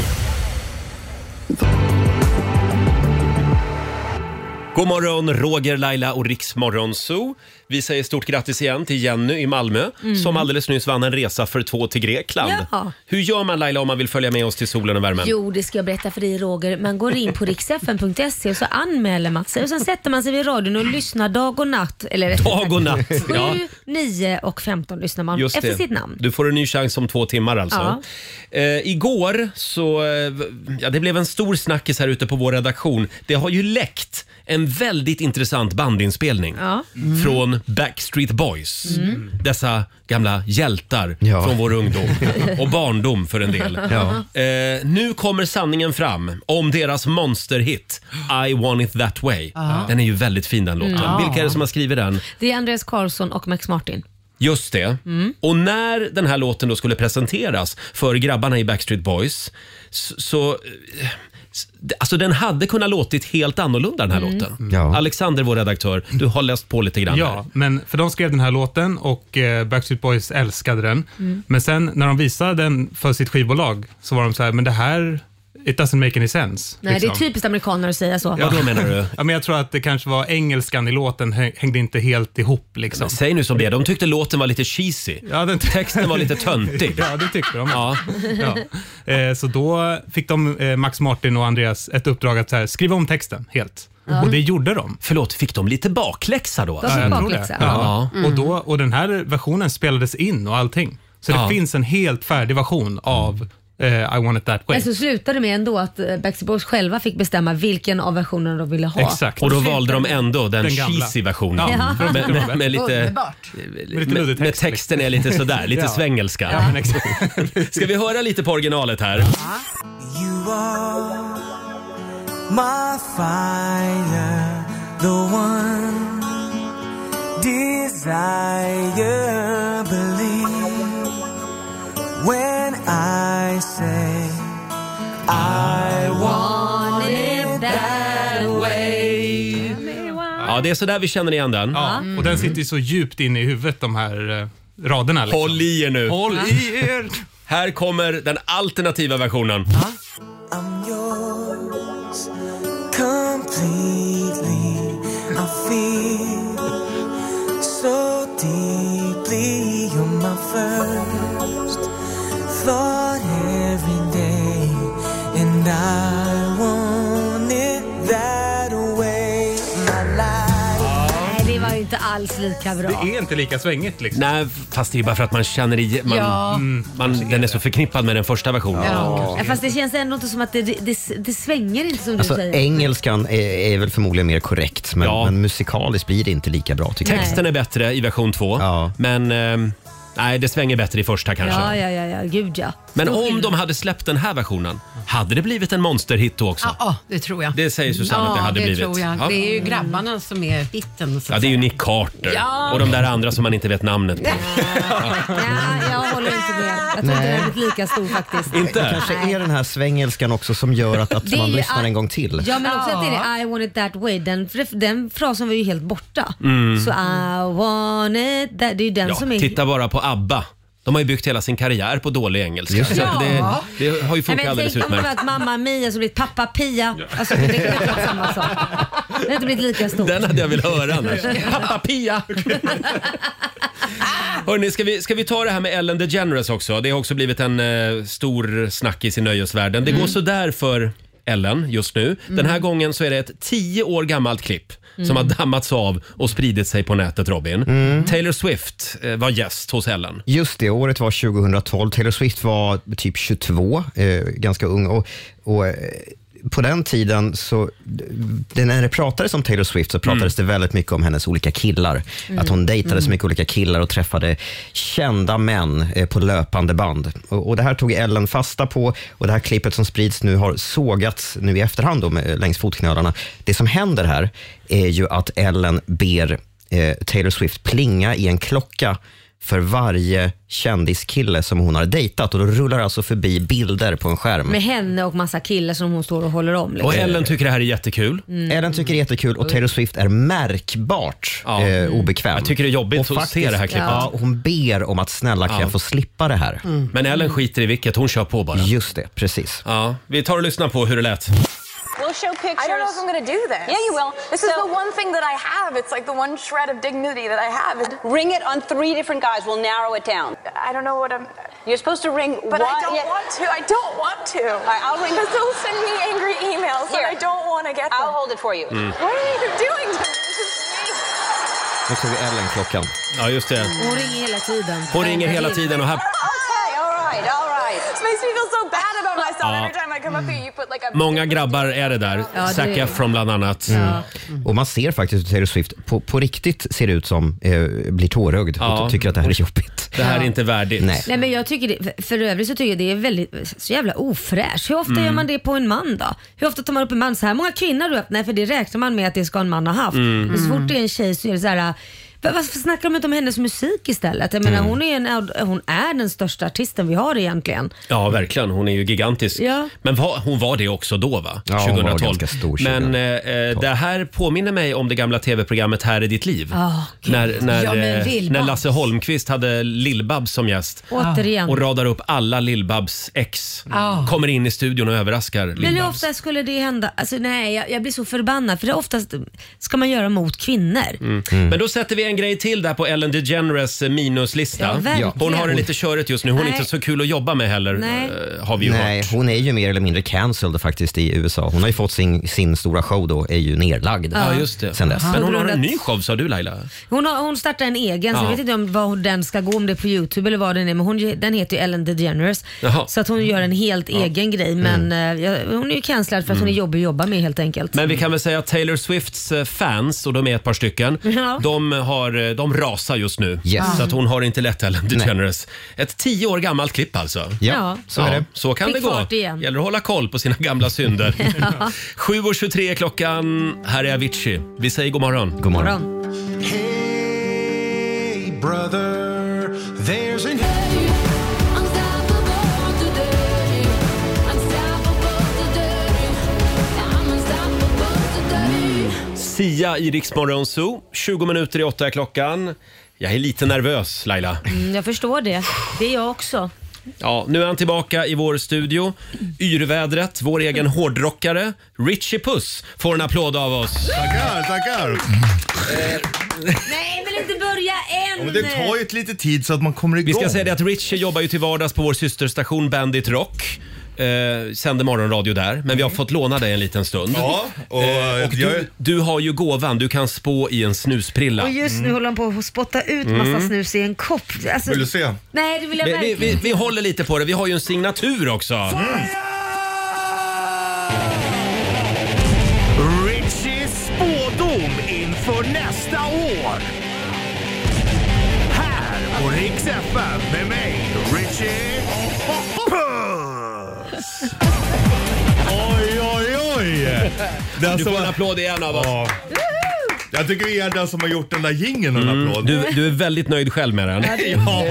A: God morgon, Roger, Laila och Riksmorgon Zoo. Vi säger stort grattis igen till Jenny i Malmö
C: Mm.
A: som alldeles nyss vann en resa för två till Grekland.
C: Ja.
A: Hur gör man Laila om man vill följa med oss till solen och värmen?
C: Jo, det ska jag berätta för dig Roger. Man går in på riksfn.se och så anmäler man sig och sen sätter man sig vid radion och lyssnar dag och natt. Eller rättare sagt,
A: Dag och natt, ja.
C: 7, 9 och 15 lyssnar man
A: Just
C: efter
A: det.
C: sitt namn.
A: Du får en ny chans om två timmar alltså. Eh, igår så, eh, v- ja det blev en stor snackis här ute på vår redaktion. Det har ju läckt en väldigt intressant bandinspelning
C: Ja.
A: från Backstreet Boys.
C: Mm.
A: Dessa gamla hjältar från vår ungdom och barndom för en del.
D: Ja.
A: Eh, nu kommer sanningen fram om deras monsterhit I want it that way.
C: Ja.
A: Den är ju väldigt fin den låten.
C: Mm.
A: Vilka är det som har skrivit den?
C: Det är Andreas Karlsson och Max Martin.
A: Just det. Och när den här låten då skulle presenteras för grabbarna i Backstreet Boys s- så... eh, s- Alltså den hade kunnat låtit helt annorlunda den här
M: Mm.
A: låten. Alexander, vår redaktör, du har läst på lite grann.
M: Ja, men för de skrev den här låten och eh, Backstreet Boys älskade den.
C: Mm.
M: Men sen när de visade den för sitt skivbolag så var de så här, men det här, it doesn't make any sense.
C: Nej, det är
M: liksom.
C: typiskt amerikaner att säga så.
M: ja, men jag tror att det kanske var engelskan i låten häng- hängde inte helt ihop. Liksom.
A: säg nu som det De tyckte låten var lite cheesy.
M: Ja, den
A: Texten var lite töntig.
M: ja, det tyckte de.
A: Ja.
M: Ja. Eh, så då fick de, eh, Max Martin och Andreas, ett uppdrag att så här, skriva om texten helt.
C: Ja.
M: Och det gjorde de.
A: Förlåt, fick de lite bakläxa då? alltså?
C: De fick
M: Ja, jag tror det.
C: bakläxa.
M: Ja.
C: Mm.
M: Och, då, och den här versionen spelades in och allting. Så
A: Ja.
M: det finns en helt färdig version av eh, I want it that way.
C: Men så slutade det med ändå att eh, Backstreet Boys själva fick bestämma vilken av versionerna de ville ha.
A: Och då valde de ändå den,
M: Den gamla.
A: cheesy versionen.
C: Ja.
A: Med, med, med lite,
C: Underbart.
A: med, med texten är lite sådär, lite
M: liksom. Ja.
A: svengelska.
M: Ja, men exakt.
A: Ska vi höra lite på originalet här?
D: You are my fire, the one desire. Believe when I say I want it that way.
A: Ja, det är sådär vi känner igen den.
M: Ja, och den sitter ju så djupt inne i huvudet de här eh, raderna. Liksom.
A: Håll i er nu.
M: Håll i er!
A: Här kommer den alternativa versionen.
D: I'm yours completely. I feel so deeply. You're my first thought every day, and I want it that way. My life.
C: Nej, det var ju inte alls lika bra.
M: Det är inte lika svängigt liksom.
A: Nej, fast det är bara för att man känner i... Man,
C: Ja.
A: mm, man, den är så förknippad med den första versionen.
C: Ja. Fast det känns ändå inte som att det, det, det, det svänger inte som du
G: Alltså,
C: säger.
G: engelskan är, är väl förmodligen mer korrekt, men, men musikaliskt blir det inte lika bra. Tycker jag.
A: Texten är bättre i version två, men... ehm, nej, det svänger bättre i första kanske.
C: Ja, ja, ja, ja, gud ja.
A: Men
C: Stor
A: om
C: skillnad.
A: de hade släppt den här versionen, hade det blivit en monsterhit då också?
J: Ja, ja, det tror jag.
A: Det säger Susanne
J: ja,
A: att det hade
J: det
A: blivit.
J: Tror jag.
A: Ja.
J: Det är ju grabbarna som är hitten. Så
A: Ja,
J: att
A: det är
J: säga.
A: ju Nick Carter
J: Ja.
A: och de där andra som man inte vet namnet på.
C: Nej, jag håller inte med. Jag tror inte
G: Nej.
C: den har blivit lika stor faktiskt.
G: Det kanske är den här svängelskan också som gör att, att
C: Det är
G: man
C: ju
G: lyssnar
C: I-
G: en gång till.
C: Ja men också att det är I want it that way. Den, den frasen var ju helt borta.
A: Mm.
C: Så I want it that, det är ju den
A: Ja,
C: som är...
A: titta bara på ABBA. De har ju byggt hela sin karriär på dålig engelska.
C: Just det.
A: Så att det,
C: Ja.
A: det har ju
C: Nej,
A: funkat
C: men
A: alldeles
C: tänk om det
A: utmärkt.
C: varit Mamma Mia som blivit Pappa Pia. Alltså det är knappt samma sak. Det har inte blivit lika stort.
A: Den hade jag velat höra annars. Pappa Pia! Hörrni, ska vi, ska vi ta det här med Ellen DeGeneres också? Det har också blivit en eh, stor snackis i nöjesvärlden.
C: Mm.
A: Det går sådär för Ellen just nu. Den här gången så är det ett tio år gammalt klipp som
N: Mm.
A: har dammats av och spridit sig på nätet, Robin.
C: Mm.
A: Taylor Swift eh, var gäst hos Ellen.
G: Just det, året var 2012. Taylor Swift var typ 22, eh, ganska ung. Och, och, eh, på den tiden, så, det- när det pratades om Taylor Swift, så pratades det väldigt mycket om hennes olika killar.
N: Mm.
G: Att hon dejtade så
N: Mm.
G: mycket olika killar och träffade kända män eh, på löpande band. Och, och Det här tog Ellen fasta på och det här klippet som sprids nu har sågats nu i efterhand då, med, eh, längs fotknölarna. Det som händer här är ju att Ellen ber eh, Taylor Swift plinga i en klocka för varje kändiskille som hon har dejtat och då rullar alltså förbi bilder på en skärm.
C: Med henne och massa killar som hon står och håller om. liksom.
G: Och Ellen
A: tycker det här är jättekul.
C: Mm.
G: Ellen tycker det är jättekul och Taylor Swift är märkbart eh, obekväm.
A: Mm. Jag tycker det är jobbigt
G: Och
A: att se det här klippet.
G: Ja, hon ber om att snälla kan
A: Ja. Mm.
G: jag få slippa det här.
A: Men Ellen skiter i vilket, hon kör på bara.
G: Just det, precis.
A: Ja, vi tar och lyssnar på hur det lät.
O: We'll show pictures. I don't know if I'm going to do this. Yeah, you will. This is the one thing that I have. It's like the one shred of dignity that I have. Ring it on three different guys. We'll narrow it down. I don't know what I'm. You're supposed to ring.
P: But I
O: one-
P: don't
O: yeah.
P: want to. I don't want to.
O: right, I'll ring-
P: Because they'll send me angry emails
O: Here.
P: and I don't want to get them.
O: I'll hold it for you.
G: Mm.
P: What are you doing to me? This is
G: Nu tog Ellen klockan.
A: Ja, just det.
C: Hon ringer hela tiden.
A: Hon ringer hela tiden och här...
O: Okay, all right, all right.
P: This makes me feel so bad about myself
A: Ja.
P: every time I come up here. You put like a.
A: Många grabbar är det där.
P: Ja, det-
A: Zac Efron bland annat.
G: Mm. Och man ser faktiskt hur Taylor Swift på, på riktigt ser ut som eh, blir tårögd
A: Ja.
G: och tycker att det här är jobbigt.
A: Det här är inte värdigt.
G: Nej.
C: Nej men jag tycker det, för övrigt så tycker jag det är väldigt, så jävla ofräscht. Hur ofta
G: Mm.
C: gör man det på en man då? Hur ofta tar man upp en man? Så här många kvinnor har du haft? Nej för det räknar man med att det ska en man ha haft.
Q: Mm.
C: Men så
Q: Mm.
C: fort det är en tjej så är det så här. va- Varför snackar de inte om hennes musik istället? Jag menar
A: Mm.
C: hon, är en, hon är den största artisten vi har egentligen.
A: Ja, verkligen. Hon är ju gigantisk.
C: Ja.
A: Men va, hon var det också då, va?
G: Ja, hon var
A: 2012.
G: ganska stor
A: Men eh, eh, det här påminner mig om det gamla tv-programmet Här är ditt liv.
C: Ah, gud.
A: När, när,
C: Ja, men
A: eh,
C: Lill-Babs.
A: när Lasse Holmqvist hade Lill-Babs som gäst.
C: Återigen.
A: Och radar upp alla Lill-Babs ex.
C: Ah.
A: Kommer in i studion och överraskar
C: Men hur
A: Lill-Babs.
C: ofta skulle det hända? Alltså, nej, jag, jag blir så förbannad för det oftast ska man göra mot kvinnor.
A: Mm. Men då sätter vi en grej till där på Ellen DeGeneres eh,
C: Ja,
A: minuslista.
C: verkligen.
A: hon har det lite körigt just nu. Hon är
C: Nej.
A: inte så kul att jobba med heller,
C: Nej.
A: eh, har vi ju hört.
G: Nej, hon är ju mer eller mindre cancelled faktiskt i USA. Hon har ju fått sin, sin stora show då, är ju nerlagd
C: Ja, just
A: det.
G: sen dess.
A: Men hon har
C: På grund
A: en ny show sa du Laila?
C: Hon, har, hon startar en egen, så
G: Ja.
C: jag vet inte om vad hon- den ska gå, om det är på Youtube eller vad den är, men hon, den heter ju Ellen DeGeneres.
A: Jaha.
C: Så att hon gör en helt egen grej, men eh, jag- hon är ju cancellad för att hon är
A: Mm.
C: jobbig att jobba med helt enkelt.
A: Men vi kan väl säga att Taylor Swifts eh, fans, och de är ett par stycken,
C: Ja.
A: de, har, eh, de rasar just nu.
C: Yes.
A: Så att hon har inte lätt Ellen DeGeneres. Ett tio år gammalt klipp alltså.
C: Ja, så är det.
A: Så kan
C: Fick
A: det gå.
C: fart igen.
A: gäller att hålla koll på sina gamla synder. 7.23 är klockan. Här är Avicii. Vi säger god morgon.
G: God
A: morgon.
N: Brother, there's an...
A: Sia i Rix Morgon Zoo. 20 minuter i åtta är klockan. Jag är lite nervös Laila.
C: Mm, jag förstår det. Det är jag också.
A: Ja, nu är han tillbaka i vår studio. Yrvädret, vår egen hårdrockare, Richie Puss, får en applåd av oss.
N: Tackar, tackar.
C: Nej, men inte börja
N: Ja,
C: än!
N: men det tar ju ett lite tid så att man kommer igång.
A: Vi ska säga det att Richie jobbar ju till vardags på vår systerstation Bandit Rock. Eh, sänder morgonradio där, men vi har fått låna dig en liten stund.
N: Ja, och,
A: Eh, och
N: jag
A: du,
N: är-
A: du har ju gåvan, du kan spå i en snusprilla.
C: Och just nu håller han på att spotta ut massa
A: Mm.
C: snus i en kopp. Alltså-
A: Vill du se?
C: Nej, det vill jag
A: Vi, vi,
C: verkligen
A: vi, vi håller lite på det, vi har ju en signatur också.
N: Richies spådom inför nästa år. Här på Rix FM med mig, Richie Puss. Oj, oj, oj!
A: Du får en applåd igen av oss.
Q: Jag tycker vi är den som har gjort den där jingeln en
A: Mm,
Q: applåd.
A: du, du är väldigt nöjd själv med den.
Q: Ja, det är- Ja,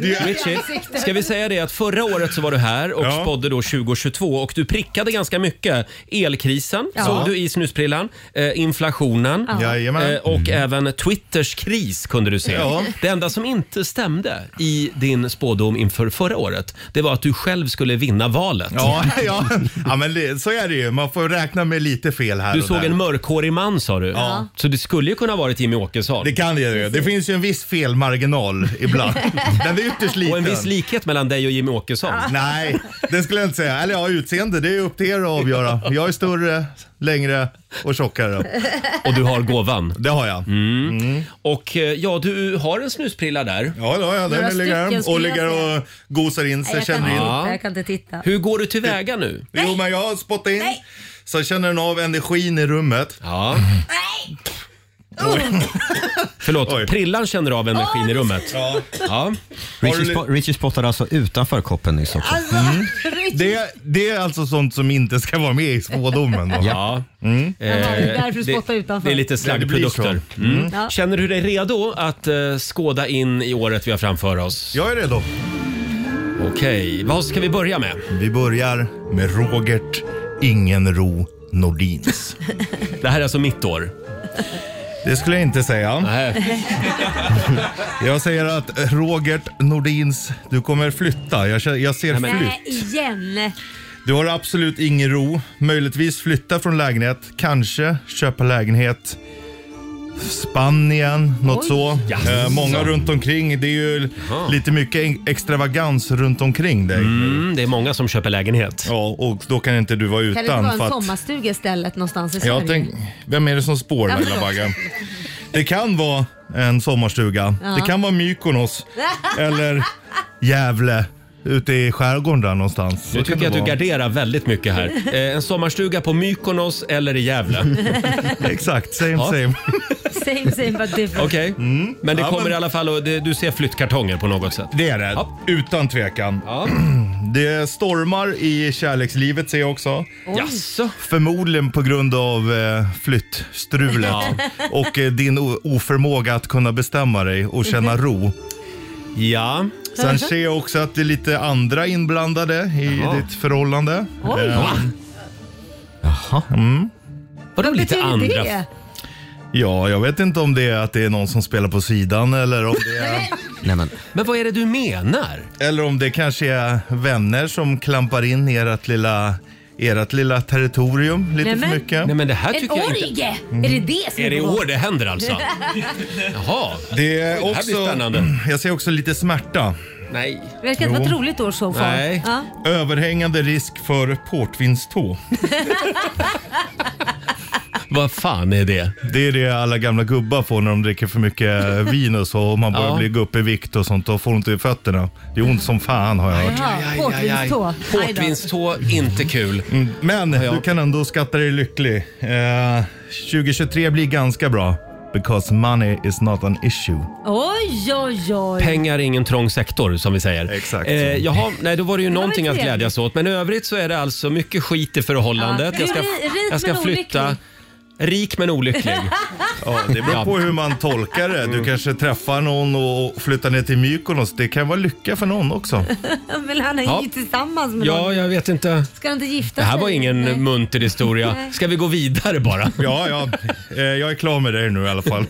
Q: det är-
A: er Richie, ska vi säga det att förra året så var du här och spådde då 2022 och du prickade ganska mycket. Elkrisen
R: Ja.
A: såg du i snusprillan, eh, inflationen
R: Ja. Jajamän.
A: eh, och
Q: Mm.
A: även Twitters kris kunde du se.
R: Ja.
A: Det enda som inte stämde i din spådom inför förra året, det var att du själv skulle vinna valet.
Q: Ja, ja. ja men det, så är det ju. Man får räkna med lite fel här
A: Du
Q: och
A: såg
Q: där.
A: en mörkhårig man sa du.
Q: Ja.
A: Så det skulle ju kunna ha varit Jimmy Åkesson.
Q: Det kan det ju. Det finns ju en viss felmarginal ibland. Den är ytterst liten.
A: Och en viss likhet mellan dig och Jimmy Åkesson.
Q: Nej, det skulle jag inte säga. Eller ja, utseende, det är upp till er att avgöra. Jag är större, längre och tjockare.
A: Och du har gåvan.
Q: Det har jag.
A: Mm. Och eh, ja, du har en snusprilla där.
Q: Ja, det har jag. Den Några ligger här stycken skulle och jag ligger säga. och gosar in
C: Nej, jag, kan inte titta, jag kan inte titta.
A: Hur går du tillväga nu?
Q: Jo, men jag spottar in. Så känner den av energin i rummet.
A: Ja. Förlåt, prillan känner av energin i rummet.
Q: Ja.
G: Richie, spo- Richie spottade alltså utanför koppen nyss också.
J: Alltså,
Q: Mm. Det, det är alltså sånt som inte ska vara med i spådomen. då.
A: Ja.
Q: Mm.
C: Jaha, det är därför du spottar utanför.
A: Eh, Det är lite
Q: Ja, det blir så.
A: slaggprodukter.
Q: Mm.
A: Mm.
C: Ja.
A: Känner du dig redo att eh, skåda in i året vi har framför oss?
Q: Jag är redo.
A: Okej, vad ska vi börja med?
Q: Vi börjar med Robert Ingenro Nordins.
A: Det här är alltså mitt år?
Q: Det skulle jag inte säga. Jag säger att Robert Nordins, du kommer flytta. Jag, kä- jag ser flytt.
C: Nej, igen.
Q: Du har absolut ingen ro. Möjligtvis flytta från lägenhet. Kanske köpa lägenhet. Spanien, något
R: Oj.
Q: så.
R: Jaså.
Q: Eh, många runt omkring. Det är ju lite mycket en- extravagans runt omkring dig.
A: Mm, det är många som köper lägenhet.
Q: Ja, och då kan inte du vara
C: Kan det
Q: utan.
C: inte vara
Q: för
C: en
Q: att-
C: sommarstuga istället någonstans i Sverige?
Q: jag tänk, vem är det som spår
C: Ja, men-
Q: Laila Bagge? Det kan vara en sommarstuga.
C: Ja.
Q: Det kan vara Mykonos eller Gävle ute i skärgården där någonstans. Så
A: Nu
Q: kan
A: tycker
Q: det
A: jag att du
Q: vara.
A: garderar väldigt mycket här. Eh, en sommarstuga på Mykonos eller i Gävle.
Q: Exakt, same same.
C: Same same but different.
A: Okej, men det
Q: Mm. Ja,
A: kommer
Q: men-
A: i alla fall och det, du ser flyttkartonger på något sätt.
Q: Det är det, utan tvekan. Det stormar i kärlekslivet ser jag också.
A: Oj. Jaså?
Q: Förmodligen på grund av eh, flyttstrulet
A: Ja.
Q: och eh, din o- oförmåga att kunna bestämma dig och känna ro.
A: Mhm. Ja.
Q: Sen ser jag också att det är lite andra inblandade i
A: Jaha.
Q: ditt förhållande. Eh,
A: Oj. Va?
Q: Jaha. Mm.
A: Vadå lite andra?
Q: Ja, jag vet inte om det är att det är någon som spelar på sidan eller om det är...
G: Nej, men.
A: men vad är det du menar?
Q: Eller om det kanske är vänner som klampar in i ert lilla, ert lilla territorium lite
C: Nej, men-
Q: för mycket.
A: Nej, men det här
C: en orgie!
A: Mm.
C: Är det det som
Q: Är det i
C: på gång?
Q: år det händer alltså?
A: Jaha.
Q: Det är
A: här
Q: också...
A: blir spännande.
Q: Jag ser också lite smärta.
A: Nej.
C: Det verkar inte vara ett
Q: Jo.
C: roligt år så far.
Q: Nej.
C: Ja.
Q: Överhängande risk för portvinstå.
A: Vad fan är det?
Q: Det är det alla gamla gubbar får när de dricker för mycket eh, vin och så. Och man börjar
A: Ja.
Q: bli gå upp i vikt och sånt. Då får ont i fötterna. Det är ont som fan har jag hört.
C: Jaha, portvinstå. Aj då.
A: Portvinstå, inte kul.
Q: Mm, Men du kan ändå skatta dig lycklig. Eh, 2023 blir ganska bra. Because money is not an issue.
C: Oj, oj, oj.
A: Pengar är ingen trång sektor som vi säger.
Q: Exakt.
A: Eh, jaha, nej då var det ju
C: Det var
A: någonting
C: väl
A: att
C: trevligt.
A: glädjas åt. Men i övrigt så är det alltså mycket skit i förhållandet.
C: Ja.
A: Jag ska,
C: Ri- rik
A: jag ska
C: men
A: flytta.
C: olycklig.
A: Rik men olycklig. Mm.
Q: Ja, det beror på hur man tolkar det. Du kanske träffar någon och flyttar ner till Mykonos. Det kan vara lycka för någon också.
C: Men han är
A: Ja.
C: ju tillsammans med
A: Ja,
C: någon.
A: jag vet inte.
C: Ska han inte gifta
A: Det här var
C: sig?
A: ingen
C: Nej.
A: munter historia.
C: Nej.
A: Ska vi gå vidare bara?
Q: Ja, ja. Eh, Jag är klar med dig nu i alla fall.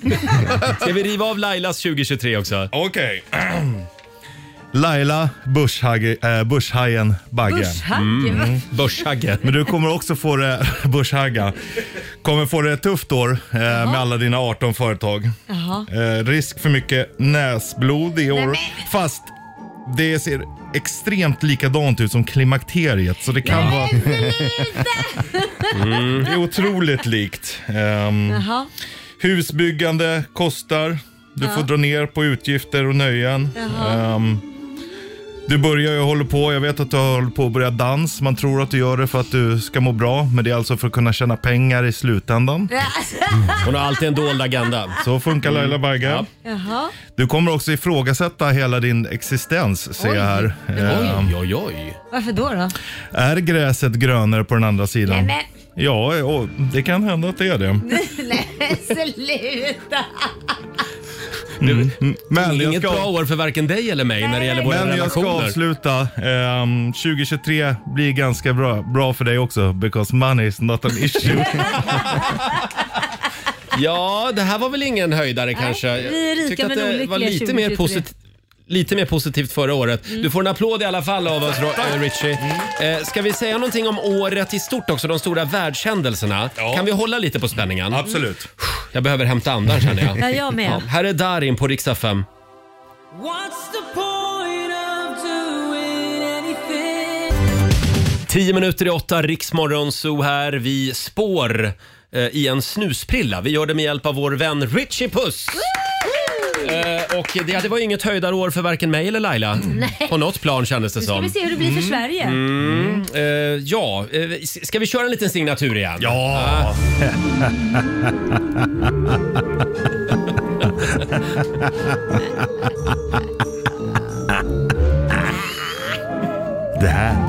A: Ska vi riva av Lailas 2023 också?
Q: Okej. Laila Börshage, eh, Börshajen Bagge. Mm.
R: Börshagge, va?
A: Börshagge.
Q: Men du kommer också få det, Börshagga, kommer få det ett tufft år eh, med alla dina 18 företag.
R: Jaha.
Q: Eh, risk för mycket näsblod i år. Fast det ser extremt likadant ut som klimakteriet så det kan vara... Mm. Det är otroligt likt. Ehm,
A: Mm.
C: Jaha.
Q: Husbyggande kostar. Du
C: Ja.
Q: får dra ner på utgifter och nöjen.
C: Jaha.
Q: Ehm, du börjar ju hålla på, jag vet att du håller på att börja dans. Man tror att du gör det för att du ska må bra, men det är alltså för att kunna tjäna pengar i slutändan.
A: Hon har alltid en dold agenda. Mm.
Q: Så funkar Laila Bagge.
C: Jaha.
Q: Du kommer också ifrågasätta hela din existens, ser jag här.
A: Oj,
Q: Ehm,
A: oj, oj.
C: Varför då? då?
Q: Är gräset grönare på den andra sidan?
C: Nämen.
Q: Ja, och det kan hända att det är det.
C: Nej, sluta!
Q: Mm, Men jag
A: Inget
Q: ska-
A: bra år för varken dig eller mig när det gäller våra
Q: Men jag ska
A: relationer.
Q: avsluta. Ehm, 2023 blir ganska bra, bra för dig också, because money is not an issue.
A: Ja, det här var väl ingen höjdare kanske.
C: vi är rika
A: Jag tyckte att
C: men
A: det
C: olyckliga Mm.
A: var lite mer,
C: 2023.
A: posit- lite mer positivt förra året. Du får en applåd i alla fall av oss, Ro- eh, Richie.
C: Mm.
A: Eh, ska vi säga någonting om året i stort också? De stora världshändelserna. Kan vi hålla lite på spänningen?
Q: Absolut.
A: Jag behöver hämta andan känner jag.
C: Ja, jag med.
A: här är Darin på riksdag 5.
D: What's the point of doing anything?
A: 10 minuter i åtta, Riksmorgon Zoo här. Vi spår eh, i en snusprilla. Vi gör det med hjälp av vår vän Richie Puss. Eh, och det, det var ju inget höjdarår för varken mig eller Laila.
C: Nej.
A: På något plan kändes det
C: Nu ska
A: som.
C: vi se hur det blir för
A: Mm.
C: Sverige.
A: Mm. Eh, ja, eh, s- ska vi köra en liten signatur igen? Ja!
N: Det här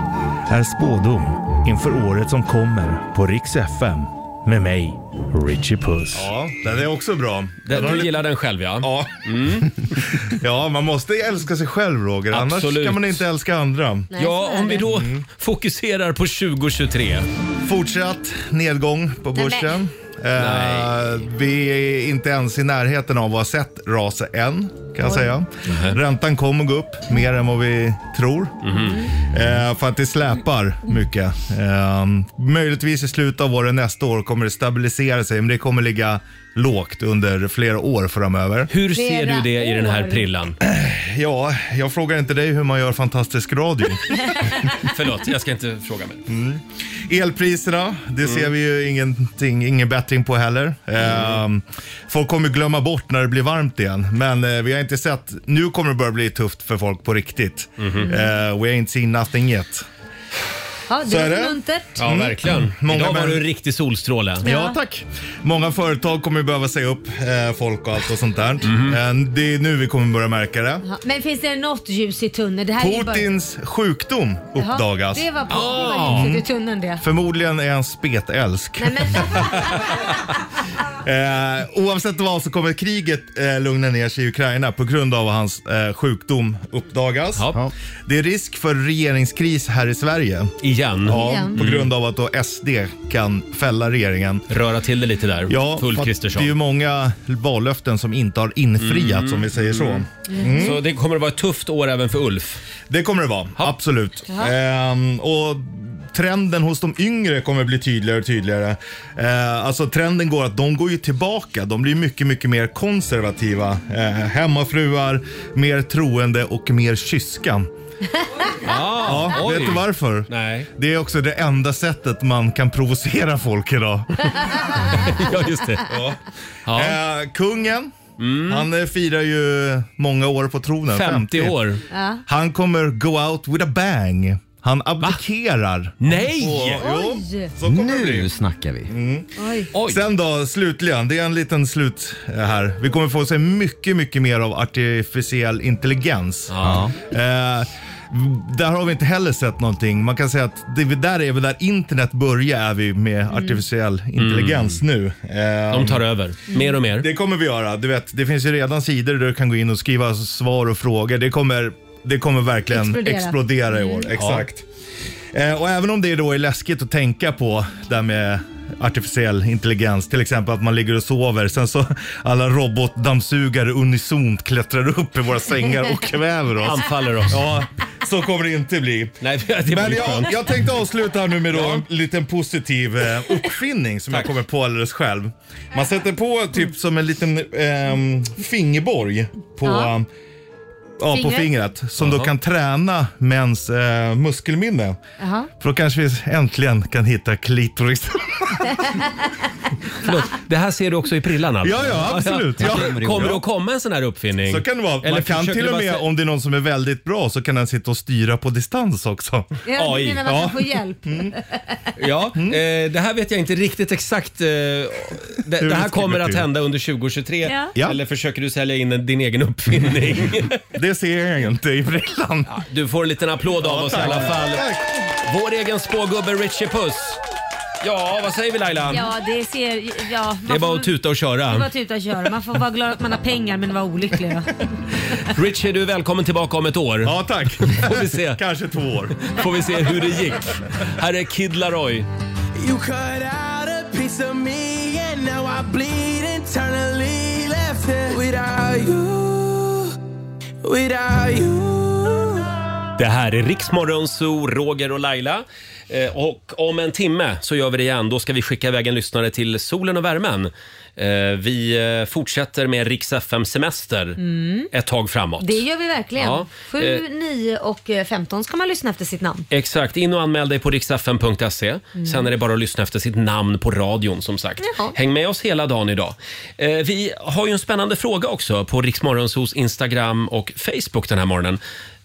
N: är Spådom inför året som kommer på Rix FM med mig, Richie Puss.
Q: Ja, den är också bra.
A: Den- du
Q: gillar
A: den själv ja? Mm.
Q: Ja. ja, man måste älska sig själv Roger, annars
A: Absolut.
Q: kan man inte älska andra.
A: ja, om vi då
M: Mm.
A: fokuserar på 2023.
Q: Fortsatt nedgång på
A: Nej,
Q: börsen. Eh, vi är inte ens i närheten av att ha sett raset än, kan jag
N: Oj.
Q: säga. Räntan kommer gå upp mer än vad vi tror. Eh, för att det släpar mycket. Eh, möjligtvis i slutet av året nästa år kommer det stabilisera sig, men det kommer ligga lågt under flera år framöver.
A: Hur ser du det i den här prillan?
Q: Ja, jag frågar inte dig hur man gör fantastisk radio.
A: Förlåt, jag ska inte fråga mer.
Q: Mm. Elpriserna, det ser vi ju ingenting, ingen bättring på heller. Ehm, folk kommer glömma bort när det blir varmt igen, men eh, vi har inte sett... Nu kommer det börja bli tufft för folk på riktigt. Eh, we ain't seen nothing yet.
C: Ja,
Q: Så
C: det
Q: är
C: är
Q: det.
C: muntert. Mm.
A: Ja, verkligen. Idag var du en riktig solstråle.
Q: Ja, tack. Många företag kommer ju behöva säga upp eh, folk och allt och sånt där. Eh, det är nu vi kommer börja märka det.
C: Ja, Men finns det något ljus i tunneln? Det här är ju bara-
Q: Putins sjukdom
C: Jaha,
Q: uppdagas.
C: Det var, på,
A: Ah.
C: det var ljuset i tunneln det.
Q: Förmodligen är han spetälsk.
C: Nej, men,
Q: Eh, oavsett vad så kommer kriget eh, lugna ner sig i Ukraina på grund av att hans eh, sjukdom uppdagas. Det är risk för regeringskris här i Sverige.
A: Igen?
Q: Ja,
A: Igen.
Q: på
A: Mm.
Q: grund av att då SD kan fälla regeringen.
A: Röra till det lite där,
Q: Ja,
A: Ulf
Q: för att det
A: Kristersson.
Q: är ju många vallöften som inte har infriats
A: Mm.
Q: om vi säger så.
A: Mm. Så det kommer att vara ett tufft år även för Ulf?
Q: Det kommer det vara, absolut. Ehm, och Trenden hos de yngre kommer bli tydligare och tydligare. Eh, alltså trenden går att de går ju tillbaka. De blir mycket, mycket mer konservativa. Eh, hemmafruar, mer troende och mer kyska.
A: Ah,
Q: ja,
A: oj.
Q: vet du varför?
A: Nej.
Q: Det är också det enda sättet man kan provocera folk idag.
A: ja, just det.
Q: Ja. Eh, kungen,
A: Mm.
Q: han eh, firar ju många år på tronen.
A: 50 år.
C: ja.
Q: Han kommer go out with a bang. Han abdikerar.
A: Nej!
Q: Och,
C: Oj!
Q: jo, så kommer det bli.
G: Nu snackar vi.
Q: Mm.
C: Oj.
Q: Sen då, slutligen. Det är en liten slut eh, här. Vi kommer få se mycket, mycket mer av artificiell intelligens. Eh, där har vi inte heller sett någonting. Man kan säga att det, vi- där är vi där internet börjar är vi med
C: Mm.
Q: artificiell intelligens nu. Eh,
A: De tar över, mer och mer.
Q: Det kommer vi göra. Du vet, det finns ju redan sidor där du kan gå in och skriva svar och frågor. Det kommer, det kommer verkligen
N: Explodera.
Q: explodera, i år.
N: Mm.
Q: Exakt. Eh, och även om det då är läskigt att tänka på det här med artificiell intelligens, till exempel att man ligger och sover, sen så alla robotdammsugare unisont klättrar upp i våra sängar och kväver oss.
A: Anfaller oss.
Q: Ja, så kommer det inte bli.
A: Nej, det var
Q: Men
A: ju
Q: jag,
A: skönt.
Q: jag tänkte avsluta här nu med då en liten positiv eh, uppfinning som jag kommer på alldeles själv. Man sätter på typ som en liten ehm, fingerborg på,
N: Ja.
Q: ja. på
N: Fingret.
Q: fingret som då
N: Jaha.
Q: kan träna mäns eh, muskelminne.
C: Jaha.
Q: För då kanske vi äntligen kan hitta klitoris.
A: Förlåt, det här ser du också i prillan alltså?
Q: Ja, ja, absolut.
A: Ja.
Q: Ja.
A: Kommer det att komma en sån här uppfinning?
Q: Så kan det vara. Man
A: Eller
Q: kan
A: försöker
Q: till
A: du
Q: och
A: bara
Q: med,
A: sä-
Q: om det är någon som är väldigt bra, så kan den sitta och styra på distans också.
C: Jag menar man
Q: Ja.
C: kan få hjälp.
A: Mm. Ja,
Q: Mm.
A: eh, det här vet jag inte riktigt exakt. Eh, det, det här
Q: ska
A: kommer
Q: gå
A: att
Q: till.
A: hända under 2023.
C: Ja.
Q: Ja.
A: Eller försöker du sälja in en- din egen uppfinning?
Q: det ser jag inte i frillan.
A: du får en liten applåd av oss i alla fall.
Q: Tack.
A: Vår egen spågubbe Richie Puss. Ja, vad säger vi Laila?
C: Ja, det ser... Ja, man
A: Det är bara
C: får-
A: att tuta och
C: Det är bara
A: köra.
C: att tuta och köra. Man får vara glad att man har pengar men vara olycklig. ja.
A: Richie, du är välkommen tillbaka om ett år. Ja, tack. Får vi se.
Q: Kanske två år.
A: Får vi se hur det gick. Här är Kid Laroi.
D: You cut out a piece of me, and now I bleed internally. Left it without you, without you.
A: Det här är Riksmorgon Zoo, Roger och Laila. Eh, och om en timme så gör vi det igen. Då ska vi skicka iväg en lyssnare till solen och värmen. Eh, vi eh, fortsätter med Riks FM-semester
C: Mm.
A: ett tag framåt.
C: Det gör vi verkligen.
A: Ja,
C: 7,
A: eh.
C: 9 och eh, 15 ska man lyssna efter sitt namn.
A: Exakt, in och anmäl dig på riksfn.se.
C: Mm.
A: Sen är det bara att lyssna efter sitt namn på radion som sagt.
C: Jaha.
A: Häng med oss hela dagen idag. Eh, vi har ju en spännande fråga också på Riksmorgonsos Instagram och Facebook den här morgonen.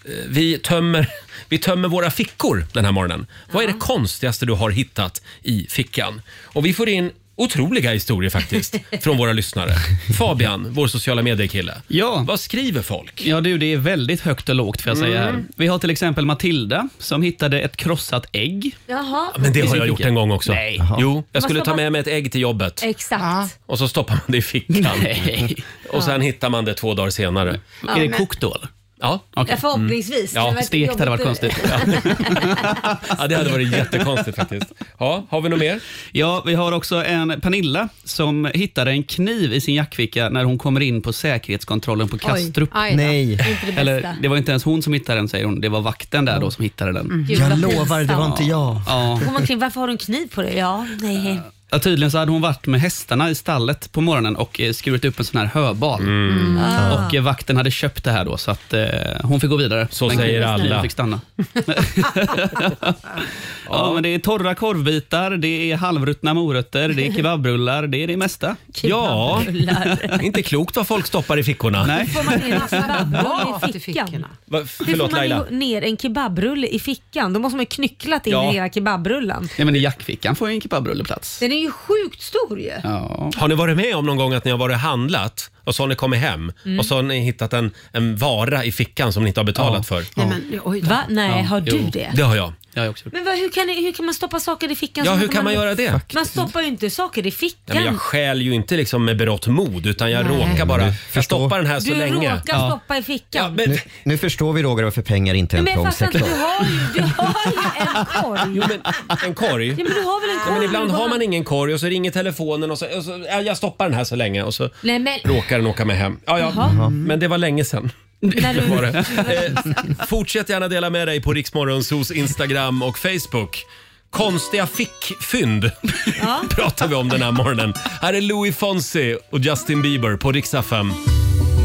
A: Eh, vi, tömmer, vi tömmer våra fickor den här morgonen. Vad är det konstigaste du har hittat i fickan? Och vi får in otroliga historier faktiskt från våra lyssnare. Fabian, vår sociala medier-kille.
H: Ja.
A: Vad skriver folk?
H: Ja du, det är väldigt högt och lågt får jag säga
A: Mm.
H: här. Vi har till exempel Matilda som hittade ett krossat ägg.
C: Jaha.
A: Men det har jag gjort en gång också.
H: Nej.
A: Jo, jag
C: Vad
A: skulle
C: ska
A: ta
C: man-
A: med mig ett ägg till jobbet.
C: Exakt.
A: Och så stoppar man det i fickan.
H: Nej.
A: Och sen hittar man det två dagar senare.
C: Ja, Är det men- kokt
A: då eller? Ja. Mm.
C: Ja, förhoppningsvis.
H: Mm.
C: Det
A: Ja,
C: var
A: stekt hade varit
C: jobbigt.
A: konstigt. ja, det hade varit jättekonstigt faktiskt. Ja, har vi något mer?
H: Ja, vi har också en Pernilla som hittade en kniv i sin jackficka när hon kommer in på säkerhetskontrollen på Kastrup.
J: Aj då. Nej. Inte det bästa.
H: Eller, det var inte ens hon som hittade den säger hon, det var vakten där då som hittade den.
C: Mm. Gud, Jag vad lovar, det var pinsamt. inte
H: jag. Ja.
C: Går man kring, varför har du en kniv på dig? Ja, nej.
H: Ja, tydligen så hade hon varit med hästarna i stallet på morgonen och eh, skurit upp en sån här höbal.
A: Mm.
C: Ah.
H: Och eh, vakten hade köpt det här då så att eh, hon fick gå vidare. Så
A: säger alla.
H: fick stanna. ja, men det är torra korvbitar, det är halvrutna morötter, det är kebabrullar, det är det mesta.
A: Ja, inte klokt vad folk stoppar i fickorna.
H: Nej.
C: Får man ner en
J: Mat
C: kebabrulle
J: i
C: i fickan?
A: Va,
C: Hur
A: förlåt
C: får man
A: Laila.
C: ihop- ner en kebabrulle i fickan? Då måste man ju knycklat in
H: Ja.
C: hela kebabrullen.
H: Nej, men i jackfickan får ju en kebabrulleplats. plats.
C: Den är ju sjukt stor ju.
A: Har ni varit med om någon gång att ni har varit och handlat och så har ni kommit hem
C: Mm.
A: och så har ni hittat en, en vara i fickan som ni inte har betalat för?
C: Va? Nej,
A: Ja.
C: har du
A: Jo.
C: det?
A: Det har jag.
H: Jag har också
C: Men vad, hur, kan, ni- hur kan man stoppa saker i fickan?
A: Ja,
C: som
A: hur kan man göra det?
C: Man stoppar ju inte saker i
A: Nej, men
C: fickan.
A: jag stjäl ju inte liksom med berått mod utan jag
C: Nej.
A: råkar bara... Jag stoppar den här så
C: du
A: länge.
C: råkar stoppa i fickan.
A: men-
G: Nu, nu förstår vi Roger varför pengar inte är
C: Nej,
G: en
C: men jag fattar inte,
G: prångsäck.
C: du har ju, du har ju en korg.
A: Jo, men en korg?
C: Ja, men du har väl en
A: Ja,
C: korg?
A: men ibland
C: Du
A: har
C: bara-
A: man ingen korg och så ringer telefonen och så, och så ja, jag stoppar den här så länge och så
C: Nej, men...
A: råkar den åka med hem. Ja, ja.
C: Jaha.
A: Mm. Men det var länge sedan.
C: När du-
A: Det var det. Eh, fortsätt gärna dela med dig på Riksmorgonsos Instagram och Facebook. Konstiga fickfynd pratar vi om den här morgonen. Här är Louis Fonsi och Justin Bieber på Riksdag 5.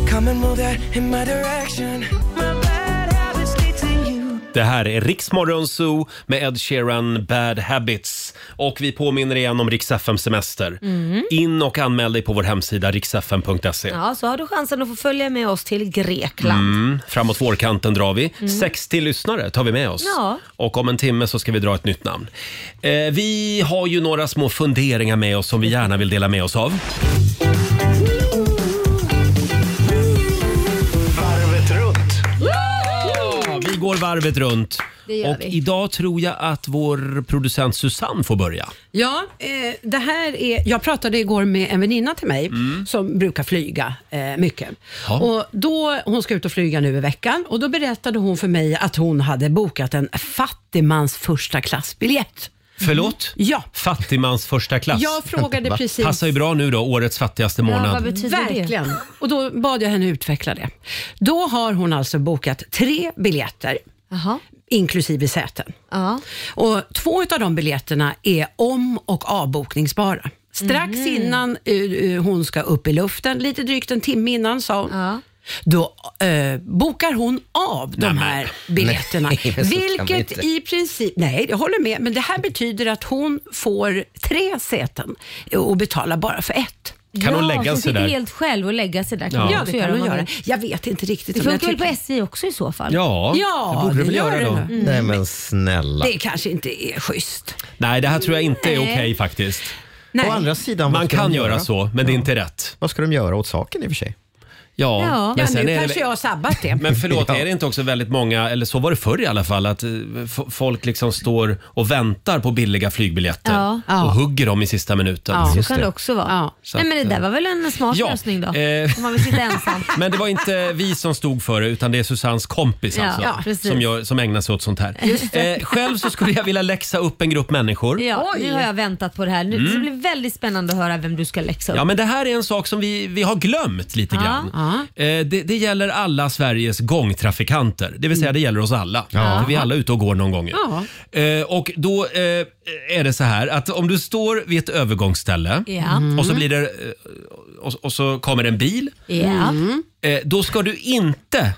D: Come and move that in my direction. My bad habits lead to you.
A: Det här är Riksmorgon Zoo med Ed Sheeran, Bad Habits. Och vi påminner igen om Rix FM semester.
C: Mm.
A: In och anmäl dig på vår hemsida riksfm.se.
C: Ja, så har du chansen att få följa med oss till Grekland.
A: Mm, framåt vårkanten drar vi.
C: Mm.
A: 60 lyssnare tar vi med oss.
C: Ja.
A: Och om en timme så ska vi dra ett nytt namn. Eh, vi har ju några små funderingar med oss som vi gärna vill dela med oss av.
D: Varvet runt.
A: Ja, vi går varvet runt.
J: Det gör
A: och
J: vi.
A: idag tror jag att vår producent Susanne får börja.
J: Ja, eh, det här är, jag pratade igår med en väninna till mig
A: Mm.
J: som brukar flyga eh, mycket.
D: Ja.
J: Och då, hon ska ut och flyga nu i veckan och då berättade hon för mig att hon hade bokat en fattigmans första klassbiljett.
A: Förlåt?
J: Mm. Ja.
A: Fattigmans första klass.
J: Jag frågade
A: Va?
J: precis.
A: Passar ju bra nu då, årets fattigaste månad.
J: Verkligen. Och då bad jag henne utveckla det. Då har hon alltså bokat tre biljetter, inklusive säten. Och två av de biljetterna är om och avbokningsbara. Strax
C: Mhm.
J: innan eh, eh, hon ska upp i luften, lite drygt en timme innan sa hon, då eh, bokar hon av de
D: Nämen.
J: här biljetterna.
D: Nej, men så kan man
J: vilket
D: inte.
J: i princip, nej jag håller med, men det här betyder att hon får tre säten och betalar bara för ett.
A: Kan hon lägga
C: hon
A: sig
C: sitter
A: där?
C: helt själv och lägga sig där.
A: Ja.
C: man
A: Ja,
C: också
J: det kan hon
C: om
J: göra.
C: man vill.
J: Jag vet inte riktigt.
C: Det
J: om jag
C: funkar väl på
J: tycker-
C: SJ också i så fall?
A: Ja,
J: Ja,
A: det borde det väl
J: det gör
A: göra
J: det
A: då.
J: nog. Mm.
G: Nej men snälla.
J: Det kanske inte är schysst.
A: Nej, det här tror jag inte är
J: Nej.
A: okej faktiskt.
J: Nej.
G: Å andra sidan, vad
A: Man
G: ska
A: kan
G: de
A: göra
G: göra?
A: så, men det är inte rätt.
G: Vad ska de göra åt saken i och för sig?
A: Ja,
J: Ja,
A: men sen
J: nu
A: är
J: kanske
A: det...
J: jag har sabbat det.
A: Men förlåt, är det inte också väldigt många, eller så var det förr i alla fall, att eh, f- folk liksom står och väntar på billiga flygbiljetter
C: Ja.
A: och
C: Ja.
A: hugger dem i sista minuten.
C: Ja, så kan det också vara.
A: Så att,
C: Nej, men det där
A: eh,
C: var väl en smart
A: ja,
C: lösning då?
A: eh.
C: Om man vill sitta ensam.
A: Men det var inte vi som stod för det, utan det är Susannes kompis
C: Ja,
A: alltså,
C: ja, precis.
A: som, gör, som ägnar sig åt sånt här.
C: Just det.
A: Eh, själv så skulle jag vilja läxa upp en grupp människor.
C: Ja, nu har jag väntat på det här. Nu,
A: Mm.
C: Det blir väldigt spännande att höra vem du ska läxa upp.
A: Ja, men det här är en sak som vi, vi har glömt lite
C: Ja,
A: grann. Eh, det, det gäller alla Sveriges gångtrafikanter, det vill säga det gäller oss alla.
C: Mm. Ja.
A: För vi är alla ute och går någon gång. ju.
C: Ja.
A: Eh, och då eh, är det så här att om du står vid ett övergångsställe
C: Ja. Mm.
A: och, så blir det, eh, och, och så kommer en bil.
C: Ja. Mm.
A: Eh, då ska du inte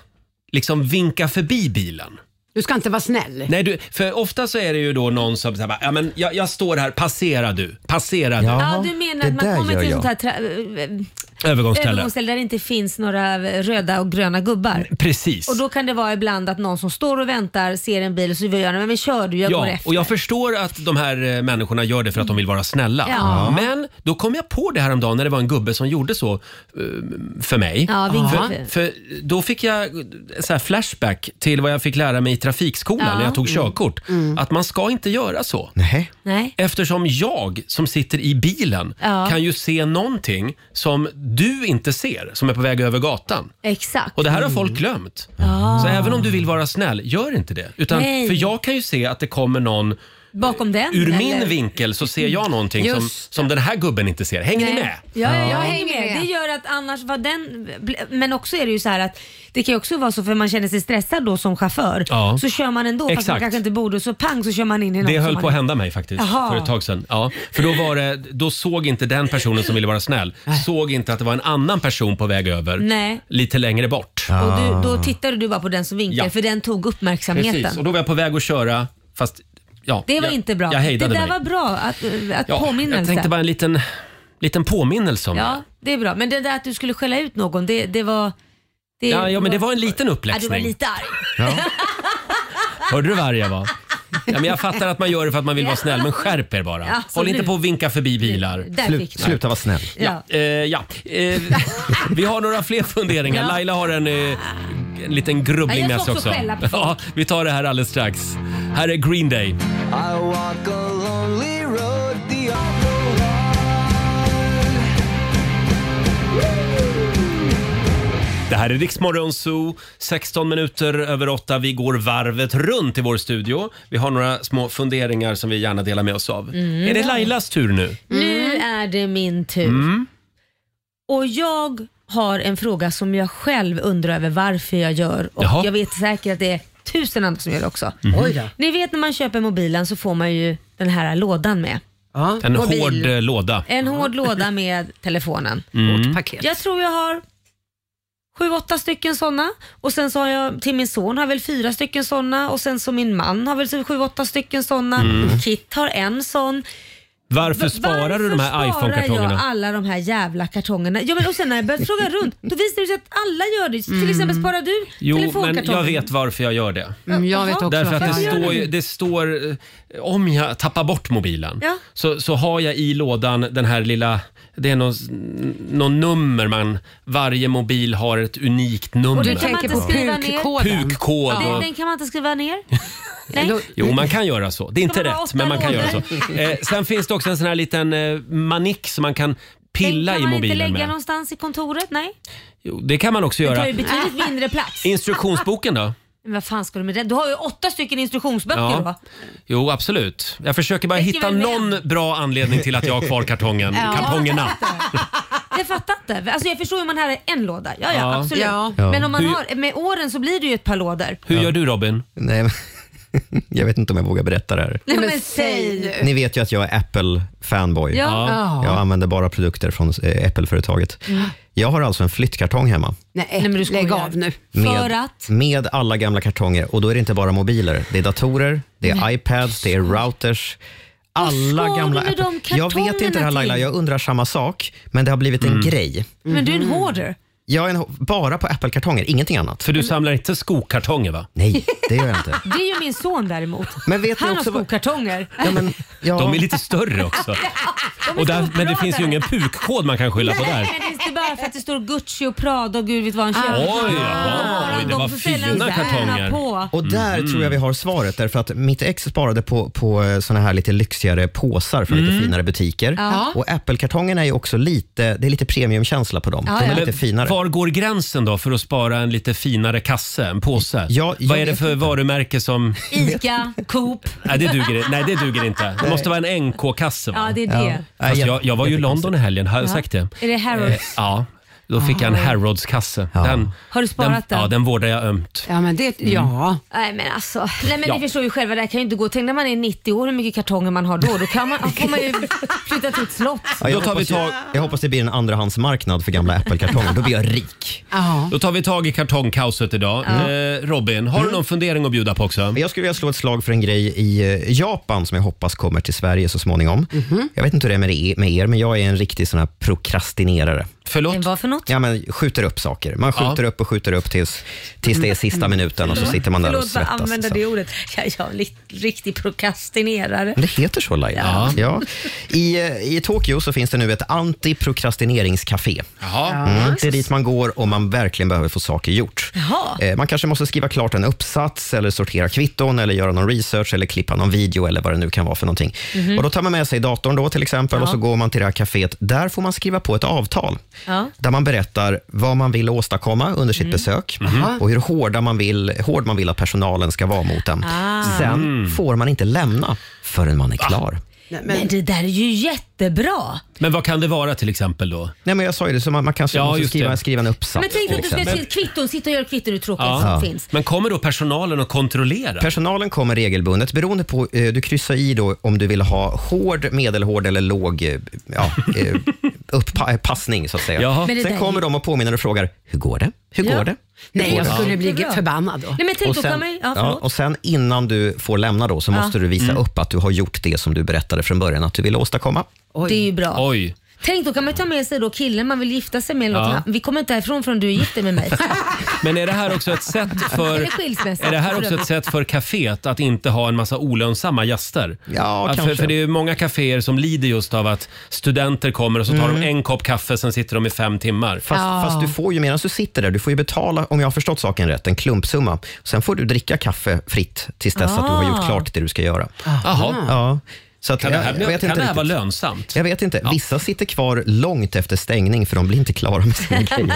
A: liksom vinka förbi bilen.
J: Du ska inte vara snäll.
A: Nej, du, för ofta så är det ju då någon som säger ja, men jag, jag står här, passera du, passera du.
C: Ja, du menar att man kommer till sånt här tra- eh,
A: Övergångsställe.
C: övergångsställe där det inte finns några eh, röda och gröna gubbar.
A: Mm, Precis.
C: Och då kan det vara ibland att någon som står och väntar ser en bil och så vill jag gärna, men kör du, jag går
A: Ja,
C: efter.
A: och jag förstår att de här eh, människorna gör det för att de vill vara snälla.
C: Ja.
A: Men då kom jag på det här om dagen när det var en gubbe som gjorde så eh, för mig.
C: Ja, vinka
A: för,
C: förbi.
A: för då fick jag eh, så här flashback till vad jag fick lära mig i trafikskolan
C: Ja.
A: när jag tog
C: Mm.
A: körkort.
C: Mm.
A: Att man ska inte göra så.
C: Nej.
A: Eftersom jag som sitter i bilen
C: Ja.
A: kan ju se någonting som du inte ser som är på väg över gatan.
C: Exakt.
A: Och det här har folk glömt.
C: Mm. Ah.
A: Så även om du vill vara snäll, gör inte det. Utan,
C: Nej.
A: för jag kan ju se att det kommer någon
C: Bakom den?
A: Ur
C: eller?
A: min vinkel så ser jag någonting som,
C: Just.
A: som den här gubben inte ser. Hänger ni med?
C: Ja, ja, jag hänger med. Det gör att annars var den... Men också är det ju så här att det kan ju också vara så för man känner sig stressad då som chaufför.
A: Ja.
C: Så kör man ändå fast man
A: Exakt.
C: kanske inte borde och så pang så kör man in i någon
A: Det
C: som
A: höll
C: man-
A: på att hända mig faktiskt
C: Jaha.
A: för ett tag sedan. Ja, för då, var det, då såg inte den personen som ville vara snäll, såg inte att det var en annan person på väg över
C: Nej.
A: lite längre bort.
C: Och du, då tittade du bara på den som vinkade
A: Ah. Ja.
C: för den tog uppmärksamheten.
A: Precis, och då var jag på väg att köra fast ja,
C: Det var
A: jag,
C: inte bra.
A: Jag
C: det där
A: hejdade mig.
C: var bra att, att
A: Ja,
C: påminnelse.
A: Jag tänkte bara en liten, liten påminnelse om
C: Ja, det är bra. Men det där att du skulle skälla ut någon, det, det var...
A: det. Ja, ja, men det var en liten
C: Ja, du var
A: uppläxning.
C: lite arg.
A: Ja. Hörde du vad arg jag var? Ja, men jag fattar att man gör det för att man vill vara snäll, men skärp er bara.
C: Ja,
A: Håll
C: absolut.
A: inte på och vinka förbi bilar.
C: Där Slut- fick man. sluta
A: vara snäll. Ja. Eh, ja. Eh, vi har några fler funderingar.
C: Ja.
A: Laila har en, eh, en liten grubbling
D: Ja, jag
A: med
D: ska
A: sig
D: också
A: också.
D: skälla på folk.
A: Ja, vi tar det här alldeles strax. Här är Green Day.
D: I walk a lonely road, the awful
A: Det här är Riksmorgon Zoo, 16 minuter över 8. Vi går varvet runt i vår studio. Vi har några små funderingar som vi gärna delar med oss av.
C: Mm.
A: Är det Lailas tur nu?
C: Nu är det min tur.
A: Mm.
C: Och jag har en fråga som jag själv undrar över varför jag gör och
F: Jaha.
C: jag vet säkert att det är tusen andra som gör det också.
F: Mhm. Oj då.
C: Ni vet när man köper mobilen så får man ju den här lådan med.
A: En
C: Mobil.
A: hård eh, låda.
C: En hård låda med telefonen.
A: Mm. Hårt
J: paket.
C: Jag tror jag har sju, åtta stycken sådana och sen så har jag till min son har väl fyra stycken sådana och sen så min man har väl så sju, åtta stycken sådana.
A: Mm.
C: Kit har en sån.
A: Varför
C: Va-
A: sparar du de här
C: Varför sparar jag
A: iPhone-kartongerna?
C: alla de här jävla kartongerna? Ja, men och sen när jag började fråga runt, då visade det sig att alla gör det. Till exempel sparar du
A: Mm. Jo, men
C: telefonkartongen?
A: jag vet varför jag gör det.
J: Mm, jag vet också
A: Därför att det
J: varför jag gör
A: står, ju-
J: det.
A: det står, eh, om jag tappar bort mobilen
J: Ja.
A: så, så har jag i lådan den här lilla, det är någon, någon nummer man, varje mobil har ett unikt nummer.
C: Och den kan man inte skriva ner.
A: Pukkod
C: Den,
A: och,
C: den kan man inte skriva ner.
A: Jo, man kan göra så. Det är inte
C: Ska man ha
A: rätt,
C: åtta
A: men man kan
C: lådor?
A: göra så. Eh, sen finns det också en sån här liten eh, manik som man kan pilla
C: Kan
A: i
C: man inte
A: mobilen
C: lägga
A: med.
C: någonstans i kontoret? Nej.
A: Jo, det kan man också
C: Det
A: göra.
C: tar ju
A: Ah.
C: betydligt mindre plats.
A: Instruktionsboken då?
C: Men vad fan ska du med den? Du har ju åtta stycken instruktionsböcker
A: Ja.
C: va?
A: Jo, absolut. Jag försöker bara
C: Räcker
A: hitta
C: väl med
A: någon bra anledning till att jag har kvar kartongen,
C: Ja.
A: kartongerna.
C: Jag fattar inte. Alltså jag förstår ju om man här är en låda. Ja, ja,
A: Ja.
C: absolut.
A: Ja.
C: Men om man
A: Hur-
C: har, med åren så blir det ju ett par lådor.
A: Hur gör du Robin?
G: Nej, men, jag vet inte om jag vågar berätta det här.
C: Nej, men säg nu.
G: Ni vet ju att jag är Apple-fanboy.
J: Ja. Ja. Mm.
G: Jag använder bara produkter från eh, Apple-företaget. Jag har alltså en flyttkartong hemma.
J: Nej, men du lägg av nu.
G: Med, med alla gamla kartonger. Och då är det inte bara mobiler. Det är datorer, det är iPads, det är routers. Alla
C: ska
G: gamla
C: du med
G: Apple-
C: de
G: Jag vet inte det
C: kartongerna
G: här Laila,
C: till? Mm.
G: jag undrar samma sak. Men det har blivit en
A: Mm.
G: grej.
C: Men du är
G: Mhm.
C: en hoarder.
G: Jag är en, bara på Apple-kartonger, ingenting annat.
A: För du samlar inte skokartonger va?
G: Nej, det gör jag inte.
C: Det är ju min son däremot.
G: Men vet ni
C: Han
G: också
C: har
G: vad-
C: skokartonger.
A: De är lite större också.
C: De är
A: Och där, men det
C: skolglada.
A: finns ju ingen pukkod man kan skylla på där.
C: Nej, det är inte bara här för att det står Gucci och Prada och gud vet vad han köper.
G: Oj,
C: Ah,
G: oj, det
C: de
G: var
C: får sälja
G: fina
C: ut
G: kartonger.
C: bärarna På.
A: Mm.
G: Och där tror jag vi har svaret, därför att mitt ex sparade på, på eh, såna här lite lyxigare påsar från lite
C: Mm.
G: finare butiker.
C: Ja.
G: Och Apple-kartongerna är ju också lite, det är lite premiumkänsla på dem.
A: Ja,
G: De är
A: ja.
G: lite
A: Men
G: finare.
A: Var går gränsen då för att spara en lite finare kasse, en påse? Vad är det för varumärke som...
C: Ica, Coop.
A: Nej det, duger, i- nej, det duger inte. Det
C: Nej.
A: måste vara en NK-kasse va?
C: Ja, det är det. Ja.
A: Fast jag, jag var ju i London i helgen, har jag
C: Ja.
A: sagt det?
C: Är det Harrods?
A: Eh, ja. Då fick jag en
C: Aha.
A: Harrods-kasse. Den,
C: Har du sparat den?
A: den? Ja, den vårdar jag ömt.
J: Ja, men det,
A: Mm.
J: ja.
C: Nej men alltså, nej, men
A: Ja.
C: ni förstår ju själva, det här kan ju inte gå. Tänk när man är 90 år hur mycket kartonger man har då. Då kan man, får man ju flytta till ett slott.
G: Ja, jag, hoppas, jag, jag hoppas det blir en andrahandsmarknad för gamla Apple-kartonger. Då blir jag rik.
J: Ja.
A: Då tar vi tag i kartongkaoset idag.
G: Ja. Mm.
A: Eh, Robin, har du någon fundering att bjuda på också?
G: Jag skulle vilja slå ett slag för en grej i eh, Japan som jag hoppas kommer till Sverige så småningom.
C: Mhm.
G: Jag vet inte hur det är med er- med er, men jag är en riktig sån här prokrastinerare.
A: Förlåt?
C: Vad för något?
G: Ja, men skjuter upp saker. Man skjuter upp och skjuter upp tills, tills det är sista minuten och så sitter man där och
C: Mm. Förlåt för att
G: svettas. liksom.
C: använda det ordet. Jag, jag är en li- riktig prokrastinerare.
G: Men Det heter så Laila. Ja. I, eh, I Tokyo så finns det nu ett antiprokrastineringscafé.
A: Jaha.
G: Mm, det är dit man går om man verkligen behöver få saker gjort.
C: Jaha.
G: Eh, Man kanske måste skriva klart en uppsats, eller sortera kvitton, eller göra någon research, eller klippa någon video, eller vad det nu kan vara för någonting.
R: Mhm.
G: Och då tar man med sig datorn då till exempel,
R: Ja.
G: och så går man till det här kaféet. Där får man skriva på ett avtal,
R: Ja.
G: där man berättar vad man vill åstadkomma under sitt besök,
R: Mhm.
G: och hur hårda man vill, hård man vill att personalen ska vara mot en.
C: Ah.
G: Sen
C: Mm.
G: får man inte lämna förrän man är klar.
C: men... det där är ju jättebra.
A: Men vad kan det vara till exempel då?
G: Nej, men jag sa ju det, så man, man kanske
A: Ja,
G: måste
A: just det.
G: skriva, skriva en uppsats. liksom?
C: men tänk dig
G: till
C: att du ska
G: exempel.
C: till ett kvitton, sitta och göra kvitton hur tråkigt
G: Ja.
C: som finns.
A: Men kommer då personalen och kontrollerar?
G: Personalen kommer regelbundet beroende på, eh, du kryssar i då om du vill ha hård, medelhård eller låg eh, ja, eh, uppa- eh, passning så att säga.
J: Jaha. Men det
G: Sen
J: där-
G: kommer de och påminner och frågar, hur går det? Hur
J: Ja.
G: går det? Hur
J: Nej,
G: går
J: jag
G: det?"
J: skulle
G: Ja.
J: bli
C: Jättebra.
J: förbannad då.
C: Nej, men tänk
G: Och
C: då
G: sen,
C: kan man ju... Ja,
G: ja,
C: förlåt.
G: och sen innan du får lämna då så
C: Ja.
G: måste du visa
C: Mm.
G: upp att du har gjort det som du berättade från början att du ville åstadkomma.
C: Det är ju bra.
A: Oj.
C: Tänk då kan man ju ta med sig då killen man vill gifta sig med eller något.
A: Ja.
C: Han- Vi kommer inte härifrån förrän du är gift dig med mig.
A: Men är det här också ett sätt för...
C: Eller skilsmässa.
A: Är det här också ett sätt för kaféet att inte ha en massa olönsamma gäster? Ja, för,
G: kanske.
A: för det är ju många kaféer som lider just av att studenter kommer och så tar
G: Mm.
A: de en kopp kaffe, sen sitter de i fem timmar.
G: Fast, fast du får ju medan du sitter där, du får ju betala, om jag har förstått saken rätt, en klumpsumma. Sen får du dricka kaffe fritt tills dess att du har gjort
A: Ah.
G: klart det du ska göra.
A: Jaha.
G: Ja. Så att,
A: Kan det här
G: jag-
A: bli-
G: jag vet
A: kan
G: inte
A: det här vara
G: riktigt.
A: lönsamt?
G: Jag vet inte. Vissa sitter kvar långt efter stängning för de blir inte klara med sina grejer.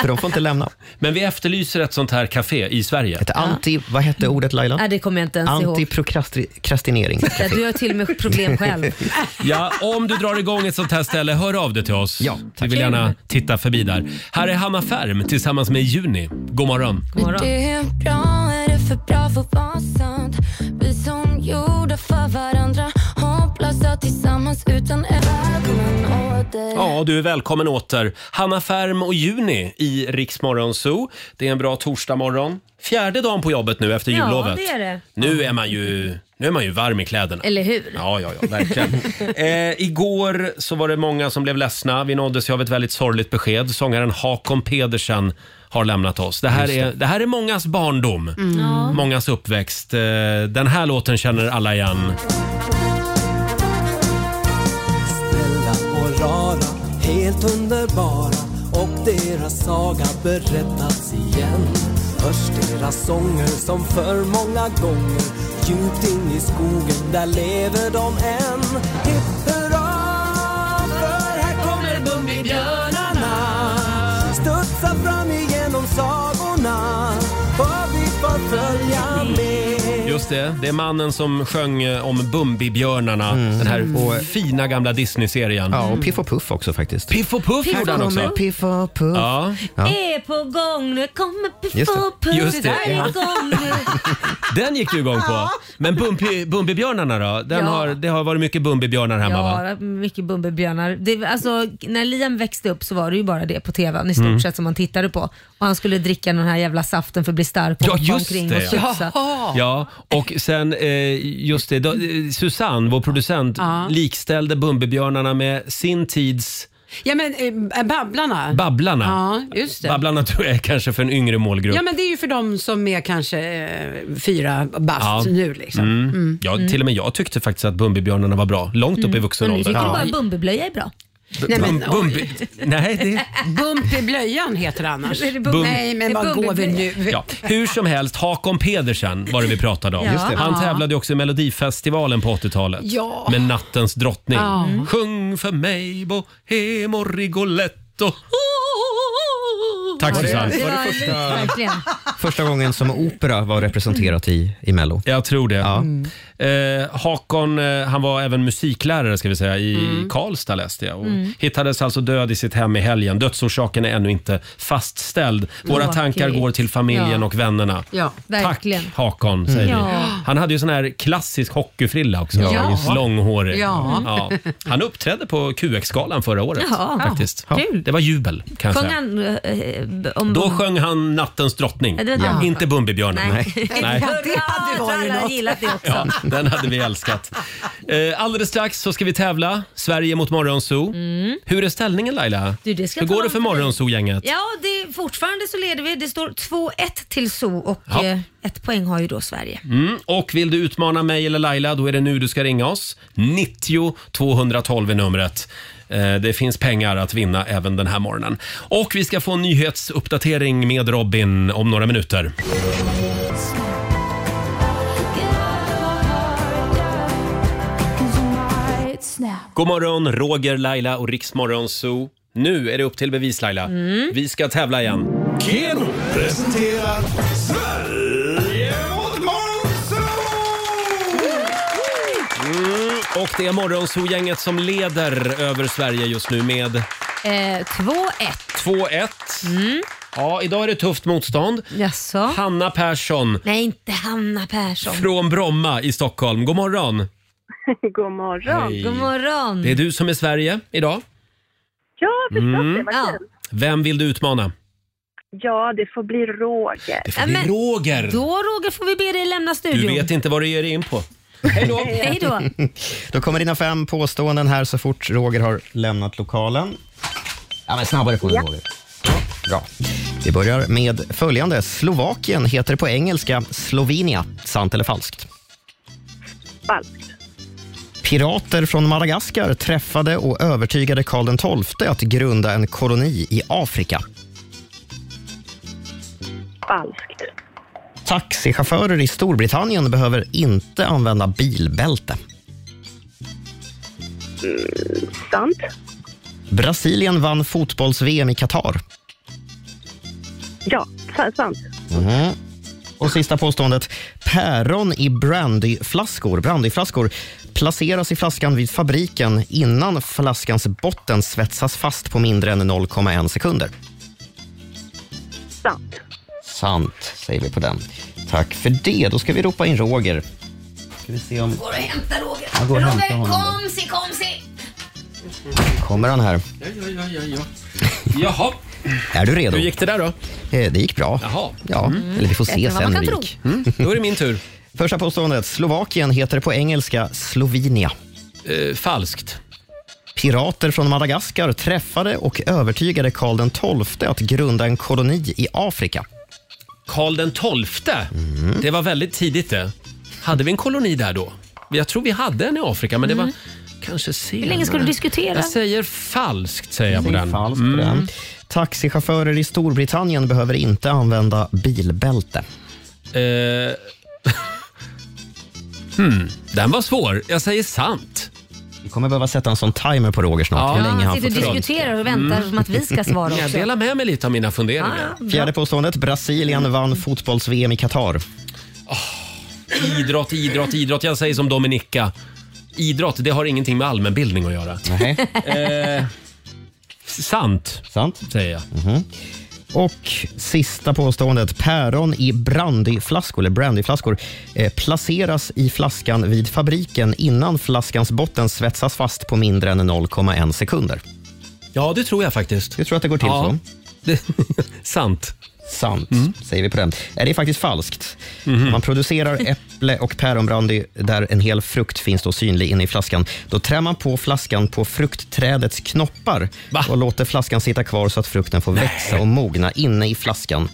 G: För de får inte lämna.
A: Men vi efterlyser ett sånt här café i Sverige. Ett
G: anti... Vad hette ordet Laila?
C: Nej, det kommer jag inte ens ihåg.
G: Antiprokrastinering.
C: Titta, Du har till och med problem själv.
A: Ja, om du drar igång ett sånt här ställe, hör av dig till oss. Ja, Vi vill
C: Kul.
A: gärna titta förbi där. Här är Hanna Färm tillsammans med Juni. God morgon.
B: Det är bra, är det för bra för att vara sant? Vi som gjorda för varandra Hopplösa tillsammans utan ögonen åter
A: Ja, du är välkommen åter. Hanna Färm och Juni i Riksmorgon Zoo. Det är en bra torsdagmorgon. Fjärde dagen på jobbet nu efter
C: Ja,
A: jullovet.
C: det är det.
A: Nu är man ju, nu är man ju varm i kläderna.
C: Eller hur?
A: Ja, ja, ja, verkligen. eh, igår så var det många som blev ledsna. Vi nåddes ju av ett väldigt sorgligt besked. Sångaren Hakon Pedersen har lämnat oss. Det här,
R: Just det.
A: Är, det här är mångas barndom,
R: Mm. Ja.
A: mångas uppväxt. Eh, den här låten känner alla igen.
I: snälla och rara, helt underbara och deras saga berättats igen. Hörs deras sånger som för många gånger djupt in i skogen, där lever de än. Hipp hurra, för här kommer Bumbibjörnarna. Studsa fram igenom sagorna, för vi får följa med.
A: Just det, det är mannen som sjöng eh, om Bumbibjörnarna, den här fina gamla Disney-serien. Mm.
G: Ja, och Piff och Puff också faktiskt.
A: Piff och Puff
G: Piff
A: gjorde han
G: och
A: också.
G: Puff. Piff och Puff.
A: Ja.
C: Är på gång nu, kommer
A: Just det.
C: Piff och Puff.
A: Just det,
C: Är
A: ja.
C: igång nu.
A: Den gick du igång på. Men Bumpi, Bumbibjörnarna då? Den
C: Ja.
A: har, det har varit mycket Bumbibjörnar hemma va?
C: Ja, mycket Bumbibjörnar. Det, alltså, när Liam växte upp så var det ju bara det på tvn i stort
A: Mm.
C: sett som man tittade på. Och han skulle dricka den här jävla saften för att bli stark och
A: Ja,
C: hoppa
A: just
C: omkring
A: det,
C: och
A: ja.
C: studsa.
A: Ja, och sen eh, just det, då, eh, Susanne, vår producent,
J: Ja.
A: likställde Bumbibjörnarna med sin tids
J: Ja, men eh, Babblarna.
A: Babblarna.
J: Ja, just det.
A: Babblarna tror jag är kanske för en yngre målgrupp.
J: Ja, men det är ju för dem som är kanske eh, fyra bast
A: Ja.
J: nu. Liksom.
A: Mm.
J: Mm.
A: Ja,
J: Mm.
A: till och med jag tyckte faktiskt att Bumbibjörnarna var bra, långt upp i vuxen
C: Och nu
A: ålder.
C: tycker Mm. du bara
A: Ja.
C: Bumbiblöja är bra.
J: Nej, men,
A: Bum- bumbi-
J: oj.
A: Nej, det...
J: Bump i blöjan heter det annars.
A: Är det bump-
J: Nej,
A: Det
J: men
A: är
J: vad
A: bump i
J: går vi nu?
A: blöjan. Ja, hur som helst, Hakon Pedersen var det vi pratade om.
J: Ja. Just det.
A: Han
J: Ja.
A: tävlade ju också i Melodifestivalen på 80-talet
J: Ja.
A: med Nattens drottning.
J: Ja.
A: Sjung för mig bohemo rigoletto. Tack
G: Var det-
A: Susanne.
G: var det
C: Ja, verkligen.
G: Första gången som opera var representerat i, i Mello.
A: Jag tror det.
C: Mm.
A: Eh, Hakon eh, han var även musiklärare ska vi säga, i Karlstad läste jag. Och
J: Mm.
A: Hittades alltså död i sitt hem i helgen. Dödsorsaken är ännu inte fastställd. Våra
J: Tråkigt.
A: tankar går till familjen
J: Ja.
A: och vännerna.
J: Ja,
C: verkligen.
G: Mm.
A: Hakon säger
J: Ja.
A: vi. Han hade ju sån här klassisk hockeyfrilla också.
J: Ja.
A: Just Långhårig.
J: Ja.
A: Ja. Han uppträdde på QX-galan förra året.
C: Ja.
A: Faktiskt.
C: Ja, kul.
A: Det var jubel kan jag
C: Sjöng
A: säga.
C: han eh, om
A: Då
C: bom-
A: sjöng han Nattens drottning.
C: Ja, det var den.
A: Inte Bumbibjörnen.
C: Nej. Det hade varit något. gillat det också.
A: Ja, den hade vi älskat. Eh, alldeles strax så ska vi tävla. Sverige mot Morgonzoo. Hur är ställningen Laila?
C: Mm. Du, det ska
A: Hur
C: jag
A: går
C: tala
A: det
C: om
A: för
C: för dig.
A: Morgonzoo-gänget?
C: Ja, det, fortfarande så leder vi. Det står 2-1 till Zoo och
A: Ja.
C: eh, ett poäng har ju då Sverige.
A: Mm. Och vill du utmana mig eller Laila, då är det nu du ska ringa oss. 90 212 är numret. Eh, Det finns pengar att vinna även den här morgonen. Och vi ska få en nyhetsuppdatering med Robin om några minuter. God morgon, Roger, Laila och Riksmorgon Zoo. Nu är det upp till bevis Laila.
C: Mm.
A: Vi ska tävla igen.
D: Keno presenterar Sverige mot
A: Mm, och det är Morgonzoo-gänget som leder över Sverige just nu med
C: Eh, 2-1.
A: 2-1. Ja, idag är det tufft motstånd.
C: Mm. Jaså?
A: Hanna Persson
C: Nej, inte Hanna Persson.
A: från Bromma i Stockholm. God morgon!
E: God morgon.
A: Hej.
C: God morgon.
A: Det är du som är Sverige idag.
E: Ja, förstås det.
A: Mm.
E: Vad
C: Ja.
E: kul.
A: Vem vill du utmana?
E: Ja, det får bli Roger.
A: Det är Roger!
C: Då Roger får vi be dig lämna
A: Du
C: studion.
A: vet inte vad du ger dig in på.
C: Hej då.
G: Då kommer dina fem påståenden här så fort Roger har lämnat lokalen. Ja, men snabbare får du,
K: Ja.
G: Roger. Ja, Bra. Vi börjar med följande. Slovakien heter på engelska Slovenia. Sant eller falskt?
E: Falskt.
G: Pirater från Madagaskar träffade och övertygade Karl XII att grunda en koloni i Afrika.
E: Falskt.
G: Taxichaufförer i Storbritannien behöver inte använda bilbälte.
E: Mm, sant.
G: Brasilien vann fotbolls-VM i Qatar.
E: Ja, sa- sant.
G: Mhm. Och sista påståendet. Päron i brandyflaskor, brandyflaskor placeras i flaskan vid fabriken innan flaskans botten svetsas fast på mindre än 0,1 sekunder.
E: Sant.
G: Sant, säger vi på den. Tack för det. Då ska vi ropa in Roger. Ska vi se om...
C: Går och hämta Roger.
G: Jag går och hämtar
C: Roger,
G: honom då.
C: komsi, komsi.
G: Kommer han här?
A: Ja, ja, ja, ja, ja. Jaha.
G: Är du redo? Eh,
A: Hur gick det där då?
G: Det gick bra.
A: Jaha.
G: Ja, eller vi får se sen hur det gick.
A: Mm. Då är det min tur.
G: Första påståendet. Slovakien heter på engelska Slovenia.
A: Eh, falskt.
G: Pirater från Madagaskar träffade och övertygade Karl XII att grunda en koloni i Afrika.
A: Karl den tolfte. Det var väldigt tidigt det. Hade vi en koloni där då? Jag tror vi hade en i Afrika, men det var kanske senare.
C: Mm. Hur länge ska du diskutera?
A: Jag säger falskt, säger jag på
G: Säg
A: den.
G: falskt på
A: Mm.
G: den. Taxichaufförer i Storbritannien behöver inte använda bilbälte.
A: Eh. hmm. Den var svår. Jag säger sant.
G: Vi kommer behöva sätta en sån timer på Roger snart.
A: Ja.
G: Hur länge
A: Ja,
G: han
A: sitter
G: får
A: och
G: tid.
C: Diskuterar och väntar som att vi ska svara också. Ah,
A: Jag Mm. delar med mig lite av mina funderingar.
G: Fjärde påståendet. Brasilien vann fotbolls-VM i Qatar.
A: Idrott, idrott, idrott. Jag säger som Dominika. Idrott, det har ingenting med allmänbildning att göra. Eh, sant.
G: Sant.
A: Säger jag.
G: Mhm. Och sista påståendet. Päron i brandyflaskor, eller brandyflaskor eh, placeras i flaskan vid fabriken innan flaskans botten svetsas fast på mindre än 0,1 sekunder.
A: Ja, det tror jag faktiskt.
G: Du tror att det går till
A: Ja.
G: så?
A: sant. Mm.
G: Sant, säger vi på den. Eh, Det är faktiskt falskt.
A: Mhm.
G: Man producerar äpple och päronbrandy där en hel frukt finns då synlig inne i flaskan. Då trär man på flaskan på fruktträdets knoppar och låter flaskan sitta kvar så att frukten får växa och mogna inne i flaskan.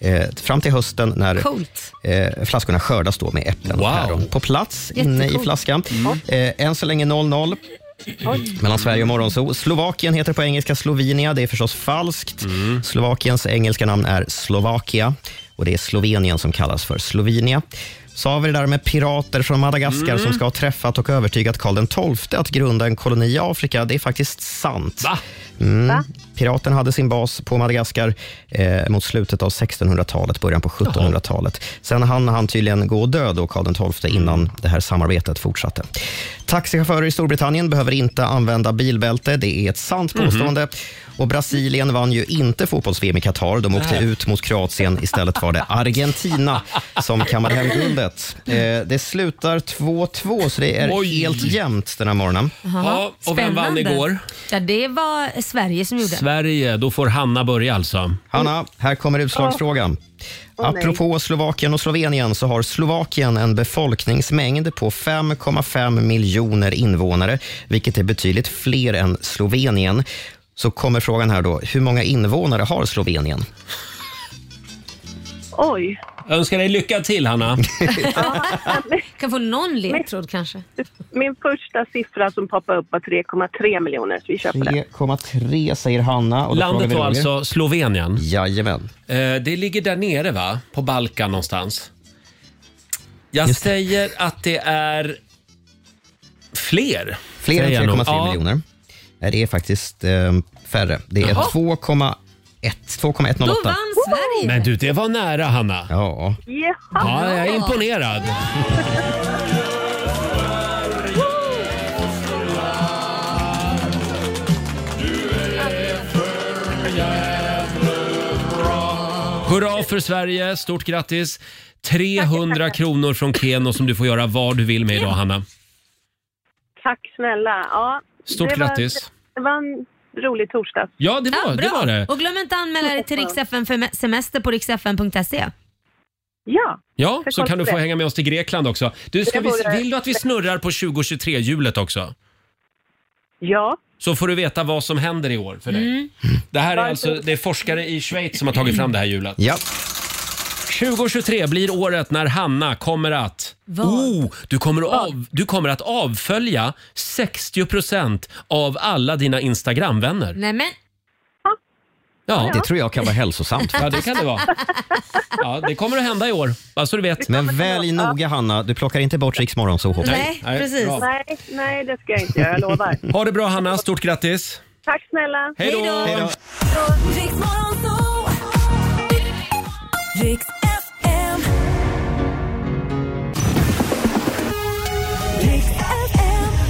G: Eh, fram till hösten när
C: Coolt.
G: eh, flaskorna skördas då med äpplen och päron. På plats inne i
C: Jättecoolt.
G: flaskan. Eh, än så länge 0-0. Mellan Sverige och Morgonzoo. Slovakien heter på engelska Slovenia. Det är förstås falskt. Slovakiens engelska namn är Slovakia och det är Slovenien som kallas för Slovenia. Så har vi det där med pirater från Madagaskar
R: Mm.
G: som ska ha träffat och övertygat Karl XII att grunda en koloni i Afrika. Det är faktiskt sant. Mm. Piraten hade sin bas på Madagaskar eh, mot slutet av 1600-talet, början på 1700-talet. Sen hann han tydligen gå och dö då, Karl
R: Mm.
G: XII, innan det här samarbetet fortsatte. Taxichaufförer i Storbritannien behöver inte använda bilbälte. Det är ett sant
R: Mhm.
G: påstående. Och Brasilien vann ju inte fotbolls-VM i Qatar. De åkte
R: Nej.
G: ut mot Kroatien. Istället var det Argentina som kammade hem guldet. Eh, det slutar 2-2, så det är
C: Oj.
G: helt jämnt den här morgonen.
C: Jaha,
A: Ja, och vem vann
C: spännande.
A: igår?
C: Ja, det var Sverige som gjorde.
A: Sverige, då får Hanna börja alltså.
G: Hanna, här kommer utslagsfrågan.
C: Åh, nej.
G: Apropå Slovakien och Slovenien så har Slovakien en befolkningsmängd på 5,5 miljoner invånare, vilket är betydligt fler än Slovenien. Så kommer frågan här då, hur många invånare har Slovenien?
E: Oj.
A: Jag önskar dig lycka till Hanna.
C: Kan få någon ledtråd kanske.
E: Min första siffra som poppade upp var 3,3 miljoner, så vi kör på det.
G: 3,3 säger Hanna. Och då frågar
A: Landet
G: vi
A: var
G: Roger.
A: alltså Slovenien. Eh,
G: Jajamän.
A: det ligger där nere va? På Balkan någonstans. Jag säger att det är fler.
G: Fler
A: säger jag
G: än
A: nog.
G: 3,3
A: Ja.
G: miljoner. Nej, det är faktiskt eh, färre. Det är
A: Jaha.
G: 2,1 2,108.
A: Då vann Sverige. Men du, det var nära Hanna.
G: Ja.
A: Ja, jag är imponerad. Hurra för Sverige, stort grattis! 300 kronor från Keno som du får göra vad du vill med idag Hanna.
E: Tack snälla. Ja,
A: Stort
E: det var-
A: grattis.
E: Det var en rolig torsdag.
A: Ja, det var, det,
C: bra.
A: var det.
C: Och glöm inte att anmäla dig till riksfn semester på riksfn.se.
E: Ja.
A: Ja,
C: För
A: så kan du få
C: konstigt.
A: hänga med oss till Grekland också. Du, ska
C: Det
A: vi,
C: vore-
A: vill du att vi snurrar på 2023-hjulet också?
E: Ja.
A: Så får du veta vad som händer i år för dig. Det här är alltså, det är forskare i Schweiz som har tagit fram det här hjulet.
G: Ja.
A: 2023 blir året när Hanna kommer att... Oh, du, kommer att av, du kommer att avfölja 60 av alla dina Instagram-vänner.
C: Nej men.
A: Ja.
G: Det tror jag kan vara hälsosamt.
A: Ja, det kan det vara. Ja, det kommer att hända i år, bara så du vet.
G: Men välj noga Hanna, du plockar inte bort Riks Morgonzoo-hopp.
E: Nej,
A: precis. bra.
E: Nej, nej, det ska jag inte göra. Jag lovar.
A: Ha det bra Hanna, stort grattis!
E: Tack snälla.
A: Hej då. Hej då.